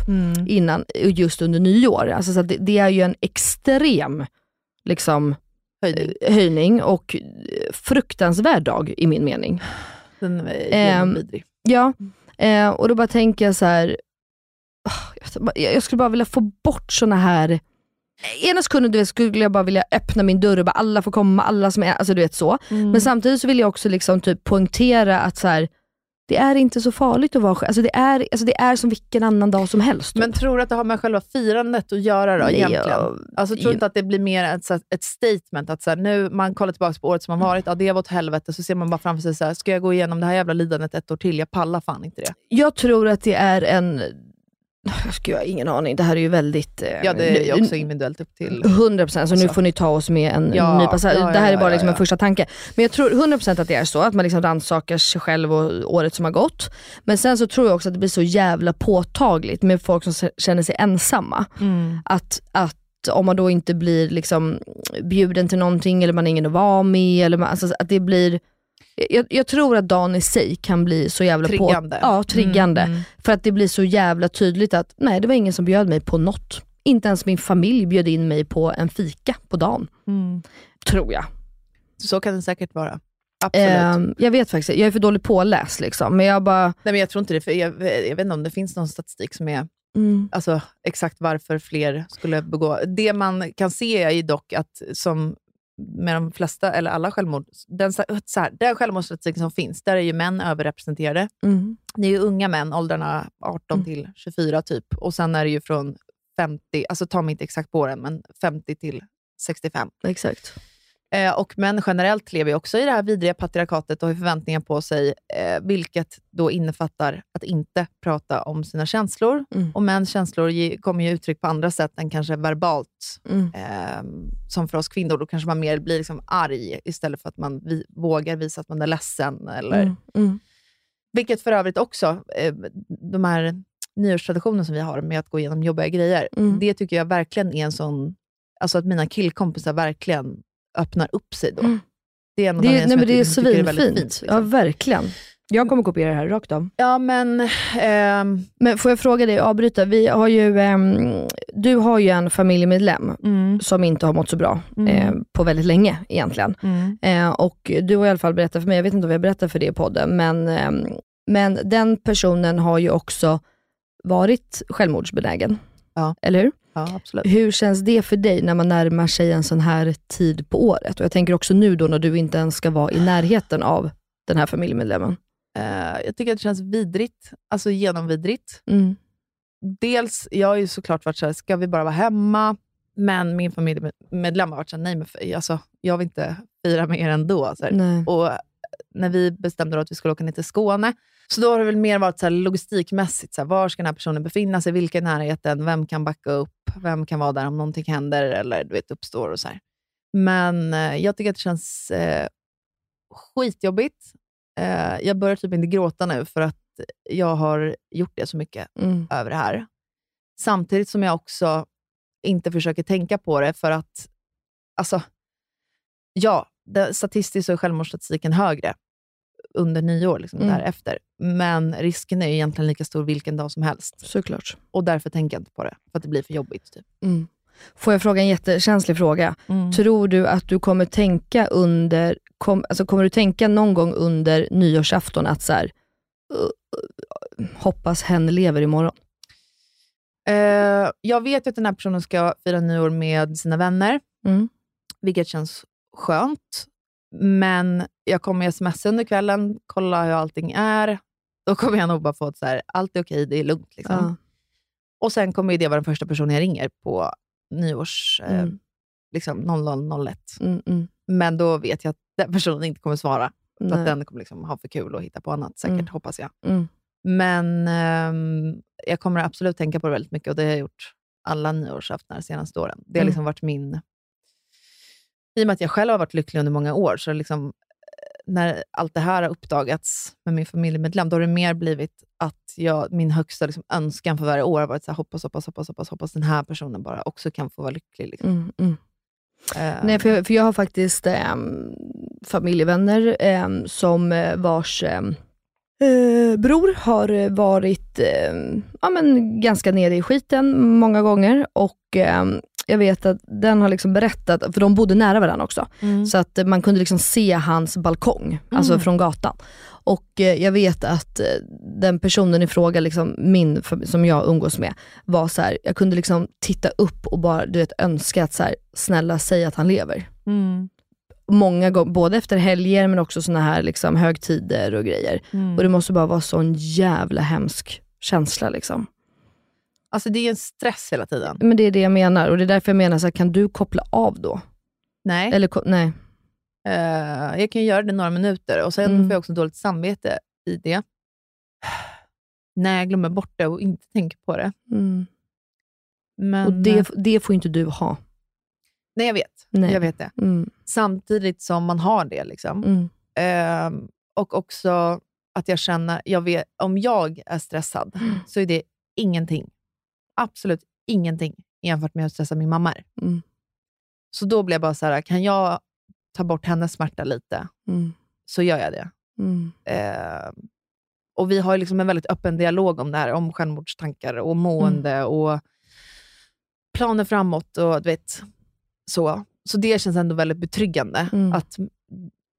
B: innan, just under nyår. Alltså, så att det, det är ju en extrem liksom,
A: Höjden.
B: eh, höjning och eh, fruktansvärd dag i min mening.
A: Den är
B: Ehm,
A: genomvidrig.
B: Ja, eh, och då bara tänker jag så här. ah, jag vet inte, Jag jag skulle bara vilja få bort såna här... Ena sekunden du vet, skulle jag bara vilja öppna min dörr och bara alla får komma, alla som är... Alltså du vet så. Men samtidigt så vill jag också liksom typ poängtera att så här, det är inte så farligt att vara själv. Alltså det, är, alltså det är som vilken annan dag som helst.
A: Men tror du att det har med själva firandet att göra då,
B: Nej,
A: egentligen?
B: jag-
A: Alltså, tror du inte att det blir mer ett, så här- ett statement? Att så här, nu, man kollar tillbaka på året som
B: Mm.
A: har varit, ja, det var åt helvete, så ser man bara framför sig, så här, ska jag gå igenom det här jävla lidandet ett år till? Jag pallar fan inte det.
B: jag tror att det är en... Gud, jag har ingen aning, det här är ju väldigt... eh,
A: Ja, det är ju också individuellt upp till...
B: mm. 100% så nu
A: Alltså.
B: får ni ta oss med en
A: Ja,
B: nypa salt.
A: ja, ja,
B: Det här är
A: ja,
B: bara
A: ja,
B: liksom
A: ja.
B: en första tanke. Men jag tror 100% att det är så, att man liksom rannsakar sig själv och året som har gått. Men sen så tror jag också att det blir så jävla påtagligt med folk som se- känner sig ensamma.
A: Mm.
B: Att, att om man då inte blir liksom bjuden till någonting eller man har ingen att vara med. Eller man, alltså att det blir... Jag, jag tror att dagen i sig kan bli så jävla på-
A: Triggande.
B: ja, triggande. För att det blir så jävla tydligt att nej, det var ingen som bjöd mig på något. Inte ens min familj bjöd in mig på en fika på dagen. Tror jag.
A: Så kan det säkert vara. Absolut.
B: Ehm, jag vet faktiskt Jag är för dåligt påläst liksom. Men jag bara,
A: Nej, men jag tror inte det, för jag, eh, jag vet inte om det finns någon statistik som är
B: mm,
A: alltså, exakt varför fler skulle begå. Det man kan se är ju dock att, som med de flesta, eller alla självmord, den, sa- så här, den självmordsstatistik som finns, där är ju män överrepresenterade.
B: mm,
A: Det är ju unga män, åldrarna 18 till 24 typ. Och sen är det ju från 50, alltså ta mig inte exakt på åren, men 50 till 65.
B: exakt.
A: Eh, och män generellt lever ju också i det här vidriga patriarkatet och har förväntningar på sig, eh, vilket då innefattar att inte prata om sina känslor.
B: Mm.
A: Och mäns känslor ge, kommer ju uttryck på andra sätt än kanske verbalt.
B: Mm.
A: Eh, som för oss kvinnor, då kanske man mer blir liksom arg istället för att man vi, vågar visa att man är ledsen. Eller,
B: Mm, mm,
A: Vilket för övrigt också, eh, de här nyårstraditionerna som vi har med att gå igenom jobbiga grejer,
B: Mm.
A: det tycker jag verkligen är en sån... Alltså att mina killkompisar verkligen öppnar upp sig då.
B: Mm.
A: Det är en av
B: Det,
A: anledningarna
B: är- nej,
A: som
B: men det är
A: jag tycker- tycker
B: svinfint.
A: väldigt fint.
B: Ja,
A: liksom.
B: verkligen. Jag kommer kopiera det här rakt av.
A: Ja, men... ehm,
B: Men får jag fråga dig, avbryta. Vi har ju, ehm, du har ju en familjemedlem
A: mm.
B: som inte har mått så bra eh, på väldigt länge egentligen. Eh, och du har i alla fall berättat för mig, jag vet inte om jag berättat för det i podden, men, ehm, men den personen har ju också varit självmordsbenägen.
A: Ja.
B: Eller hur?
A: Ja, absolut.
B: Hur känns det för dig när man närmar sig en sån här tid på året? Och jag tänker också nu då när du inte ens ska vara i närheten av den här familjemedlemmen.
A: Eh, jag tycker att det känns vidrigt. Alltså genomvidrigt.
B: Mm.
A: dels, jag har ju såklart varit såhär, ska vi bara vara hemma? Men min familjemedlem har varit såhär, nej men för, alltså, jag vill inte fira med er ändå. Så här.
B: Nej.
A: Och när vi bestämde då att vi skulle åka ner till Skåne, så då har det väl mer varit så här logistikmässigt. Så här, var ska den här personen befinna sig? Vilka är närheten? Vem kan backa upp? Vem kan vara där om någonting händer eller du vet, uppstår? och så här. Men eh, jag tycker att det känns eh, skitjobbigt. Eh, jag börjar typ inte gråta nu för att jag har gjort det så mycket
B: Mm.
A: över det här. Samtidigt som jag också inte försöker tänka på det för att, alltså, ja, det, statistiskt så är självmordsstatistiken högre under nyår, liksom,
B: Mm.
A: därefter. Men risken är ju egentligen lika stor vilken dag som helst.
B: Såklart.
A: Och därför tänker jag inte på det, för att det blir för jobbigt. Typ.
B: Mm. Får jag fråga en jättekänslig fråga?
A: Ty-
B: Tror du att du kommer tänka under, kom, alltså kommer du tänka någon gång under nyårsafton att så här, "Uh, uh, hoppas hen lever imorgon?
A: Eh, jag vet ju att den här personen ska fira nyår med sina vänner,
B: Mm.
A: vilket känns skönt. Men jag kommer ju smsa under kvällen, kolla hur allting är. Då kommer jag nog bara få ett så här, allt är okej, det är lugnt. Liksom.
B: Ja.
A: Och sen kommer ju det vara den första personen jag ringer på nyårs... Eh,
B: Mm.
A: liksom 0001.
B: Mm, mm.
A: Men då vet jag att den personen inte kommer svara. För
B: Nej.
A: att den kommer liksom ha för kul och hitta på annat, säkert,
B: Mm.
A: hoppas jag.
B: Mm.
A: Men ehm, jag kommer absolut tänka på det väldigt mycket och det har jag gjort alla nyårsaftnar de senaste åren. Det har
B: Mm.
A: liksom varit min... I och med att jag själv har varit lycklig under många år, så har liksom, eh, när allt det här har uppdagats med min familjemedlem, då har det mer blivit att jag, min högsta liksom, önskan för varje år har varit så här, hoppas, hoppas, hoppas, hoppas, hoppas den här personen bara också kan få vara lycklig. Liksom.
B: Mm, mm.
A: Eh,
B: Nej, för jag, för jag har faktiskt ehm, familjevänner ehm, som eh, vars ehm, eh, bror har eh, varit ehm, ja, men ganska nere i skiten många gånger. Och ehm, Jag vet att den har liksom berättat, för de bodde nära varandra också,
A: mm.
B: så att eh, man kunde liksom se hans balkong, alltså från gatan. Och eh, jag vet att eh, den personen i fråga, liksom, min, fam- som jag umgås med, var så här, jag kunde liksom titta upp och bara du vet, önska att så här, snälla säg att han lever
A: Mm.
B: många gånger, både efter helger men också såna här liksom, högtider och grejer.
A: Mm.
B: Och det måste bara vara sån jävla hemsk känsla. Liksom.
A: Alltså det är en stress hela tiden.
B: Men det är det jag menar och det är därför jag menar, så här, kan du koppla av då?
A: Nej.
B: Eller, ko- nej.
A: Eh, jag kan göra det några minuter och sen
B: Mm.
A: får jag också dåligt samvete i det. När jag glömmer bort det och inte tänker på det.
B: Mm.
A: Men,
B: och
A: eh,
B: det, det får ju inte du ha.
A: nej, jag vet.
B: Nej.
A: Jag vet det.
B: Mm,
A: Samtidigt som man har det. liksom.
B: mm,
A: Ehm, och också att jag känner, jag vet, om jag är stressad
B: Mm.
A: så är det ingenting. Absolut ingenting jämfört med hur stressad min mamma är.
B: Mm.
A: Så då blir jag bara så här, kan jag ta bort hennes smärta lite
B: mm,
A: så gör jag det.
B: mm,
A: Eh, och vi har ju liksom en väldigt öppen dialog om det här, om självmordstankar och
B: Mm.
A: mående och planer framåt och du vet, så. Så det känns ändå väldigt betryggande
B: Mm.
A: att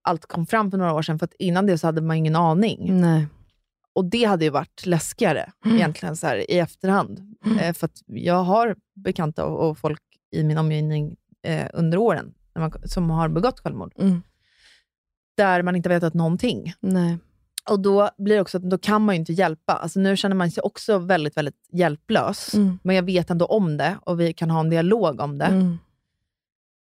A: allt kom fram för några år sedan, för att innan det så hade man ingen aning.
B: nej.
A: Och det hade ju varit läskigare
B: Mm.
A: egentligen så här, i efterhand. Eh, för att jag har bekanta och, och folk i min omgivning eh, under åren när man, som har begått självmord,
B: Mm,
A: där man inte vetat någonting.
B: nej.
A: Och då blir det också att då kan man ju inte hjälpa. Alltså nu känner man sig också väldigt, väldigt hjälplös.
B: Mm,
A: Men jag vet ändå om det och vi kan ha en dialog om det.
B: mm,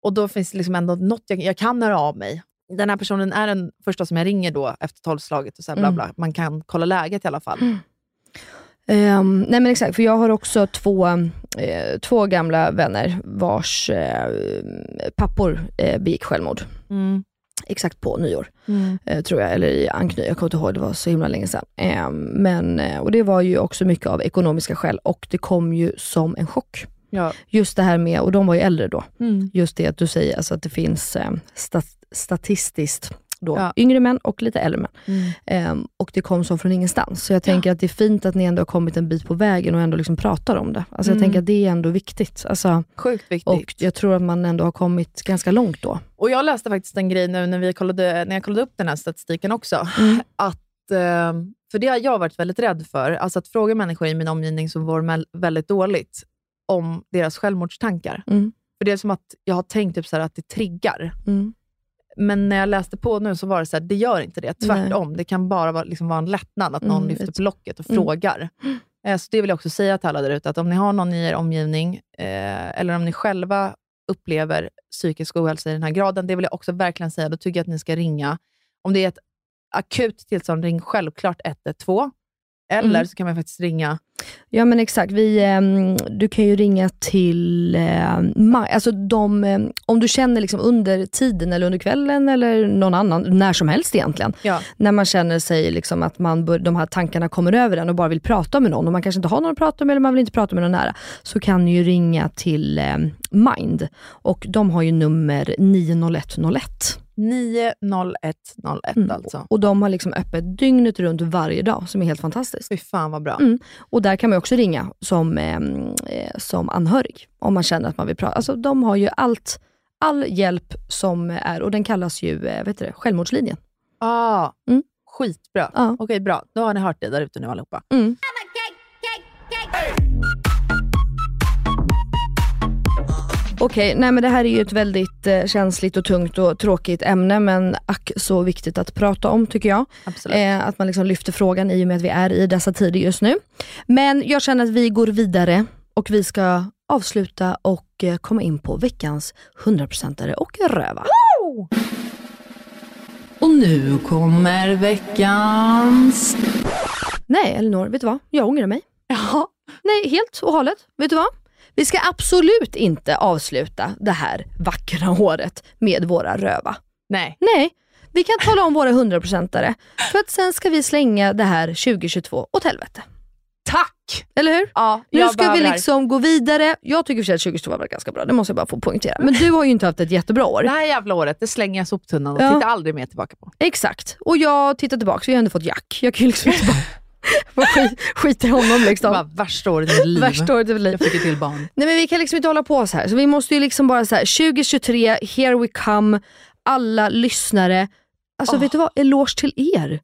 A: Och då finns det liksom ändå något jag, jag kan höra av mig. Den här personen är den första som jag ringer då efter tolvslaget och så här bla
B: Mm.
A: bla. Man kan kolla läget i alla fall.
B: Ehm, nej men exakt, för jag har också två, eh, två gamla vänner vars eh, pappor eh, begick självmord.
A: Mm.
B: Exakt på nyår. eh, tror jag, eller i ankny, jag kommer inte ihåg, det var så himla länge sedan. Eh, men, eh, och det var ju också mycket av ekonomiska skäl och det kom ju som en chock.
A: Ja.
B: Just det här med, och de var ju äldre då,
A: Mm.
B: just det att du säger alltså att det finns eh, stat- statistiskt då,
A: Ja. Mm.
B: yngre män och lite äldre män. Eh, och det kom som från ingenstans. Så jag tänker att det är fint att ni ändå har kommit en bit på vägen och ändå liksom pratar om det. Alltså jag
A: Mm.
B: tänker att det är ändå viktigt. Alltså,
A: Sjukt viktigt.
B: och jag tror att man ändå har kommit ganska långt då.
A: Och jag läste faktiskt en grej nu när, vi kollade, när jag kollade upp den här statistiken också. Att, eh, för det har jag varit väldigt rädd för. Alltså att fråga människor i min omgivning som mår mel- väldigt dåligt om deras självmordstankar.
B: Mm.
A: För det är som att jag har tänkt typ så här att det triggar.
B: Mm.
A: Men när jag läste på nu så var det så här, det gör inte det. Tvärtom. Det kan bara vara, liksom vara en lättnad att någon
B: Mm,
A: lyfter
B: ett-
A: på locket och
B: Mm.
A: frågar. Eh, Så det vill jag också säga till alla där ute, att om ni har någon i er omgivning, eh, eller om ni själva upplever psykisk ohälsa i den här graden, det vill jag också verkligen säga, då tycker jag att ni ska ringa. Om det är ett akut tillstånd, ring självklart 112. Eller
B: Mm.
A: så kan man faktiskt ringa
B: Ja men exakt, vi, ehm, du kan ju ringa till eh, maj. Alltså de, ehm, om du känner liksom under tiden eller under kvällen eller någon annan, när som helst egentligen,
A: Ja.
B: när man känner sig liksom att man bör, de här tankarna kommer över en och bara vill prata med någon och man kanske inte har någon att prata med eller man vill inte prata med någon nära, så kan du ju eh, ringa till ehm, Mind och de har ju nummer 90101.
A: 90101
B: Mm.
A: alltså.
B: Och de har liksom öppet dygnet runt varje dag, som är helt fantastiskt.
A: Fy fan vad bra.
B: Mm. Och där kan man ju också ringa som, ehm, eh, som anhörig, om man känner att man vill prata. Alltså, de har ju allt, all hjälp som är, och den kallas ju eh, vad heter det, självmordslinjen.
A: Ah,
B: Mm.
A: Skitbra.
B: Ja.
A: Okej, bra. Då har ni hört det där ute nu allihopa.
B: Mm. Okej, nej men det här är ju ett väldigt eh, känsligt och tungt och tråkigt ämne, men ack så viktigt att prata om tycker jag.
A: Absolut.
B: Eh, att man liksom lyfter frågan i och med att vi är i dessa tider just nu. Men jag känner att vi går vidare och vi ska avsluta och eh, komma in på veckans 100%are och röva.
A: Och nu kommer veckans...
B: Nej Elinor, vet du vad? Jag ångrar mig. Ja. Nej, helt och hållet. Vet du vad? Vi ska absolut inte avsluta det här vackra året med våra röva.
A: Nej.
B: Nej, vi kan tala om våra 100%are för att sen ska vi slänga det här 2022 åt helvete.
A: Tack!
B: Eller hur?
A: Ja,
B: Nu
A: jag
B: ska
A: behöver
B: vi
A: det här.
B: liksom gå vidare. Jag tycker i och för sig att 2022 var ganska bra, det måste jag bara få poängtera. Men du har ju inte haft ett jättebra år.
A: Det här jävla året, det slänger jag i soptunnan och
B: Ja.
A: tittar aldrig mer tillbaka på.
B: Exakt. Och jag tittar tillbaka, så jag har ändå fått jack. Jag kan ju liksom inte bara, bara skit, skita i honom
A: Det var
B: liksom.
A: värsta året i mitt liv.
B: Värsta året i mitt liv.
A: Jag fick ett till barn.
B: Nej men vi kan liksom inte hålla på så här. Så vi måste ju liksom bara så här, 2023, here we come, alla lyssnare. Alltså
A: Åh.
B: vet du vad, eloge till er.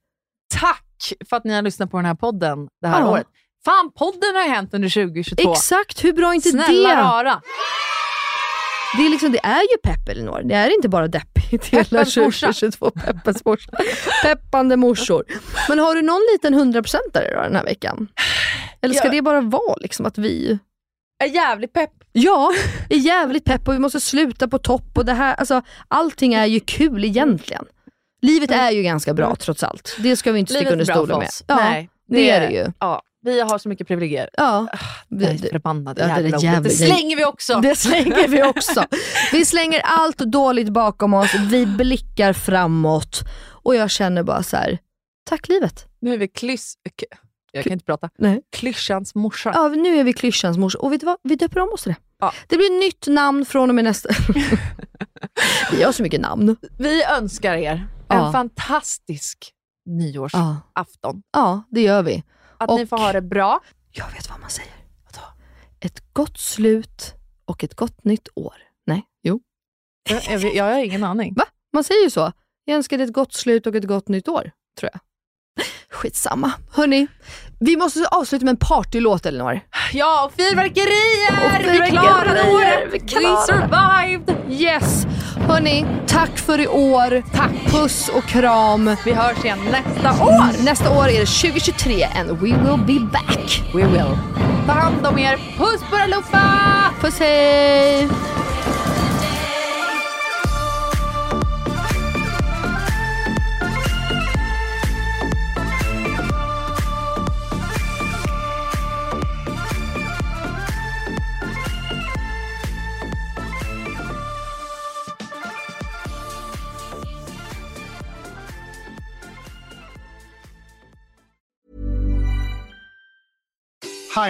A: Tack för att ni har lyssnat på den här podden det här
B: Ja.
A: året. Fan, podden har hänt under 2022.
B: Exakt, hur bra är inte
A: Snälla
B: det?
A: rara.
B: Det är, liksom, det är ju pepp Elinor, det är inte bara deppigt hela
A: Peppans morsa.
B: 2022. Peppans morsa. Peppande morsor. Men har du någon liten 100%are då den här veckan? Eller ska
A: Ja.
B: det bara vara liksom att vi
A: Jag är jävligt pepp.
B: Ja, är jävligt pepp och vi måste sluta på topp och det här, alltså, allting är ju kul egentligen. Livet är ju ganska bra trots allt. Det ska vi inte sticka
A: Mm. Livet
B: under
A: är bra
B: stolen
A: för
B: med.
A: oss.
B: Ja,
A: Nej, Ah,
B: det, är det ju.
A: Ja, vi har så mycket privilegier.
B: Ja.
A: Jag är
B: Det-
A: förbannad
B: Ja, det
A: jävla
B: där
A: ordet.
B: jävla-
A: Det slänger vi också.
B: Det slänger vi också. Vi slänger allt dåligt bakom oss, vi blickar framåt och jag känner bara så här: tack livet.
A: Nu är vi klysch... k- Jag kan inte prata.
B: Nej.
A: Klyschans morsa.
B: Ja, nu är vi klyschans mors och vet du vad? Vi döper om oss till det.
A: Ja.
B: Det blir nytt namn från och med nästa... vi har så mycket namn.
A: Vi önskar er
B: Ja.
A: en fantastisk nyårsafton.
B: Ja, ja det gör vi.
A: Att
B: Och-
A: ni får ha det bra.
B: Jag vet vad man säger. Ett gott slut och ett gott nytt år. Nej, jo.
A: Jag, jag, jag har ingen aning.
B: Va? Man säger ju så. Jag önskar dig ett gott slut och ett gott nytt år, tror jag. Skitsamma. Hörni, vi måste avsluta med en partylåt Elinor.
A: Ja, och fyrverkerier!
B: Och
A: Vi klarade
B: fyrverkerier!
A: året!
B: Vi
A: Vi,
B: klarade
A: survived!
B: Yes! Hörni, tack för i år. Tack. Puss och kram.
A: Vi hörs igen nästa år!
B: År. Nästa år är det 2023 and we will be back.
A: We will. Ta hand om er. Puss på er allihopa!
B: Puss hej!
F: Hi,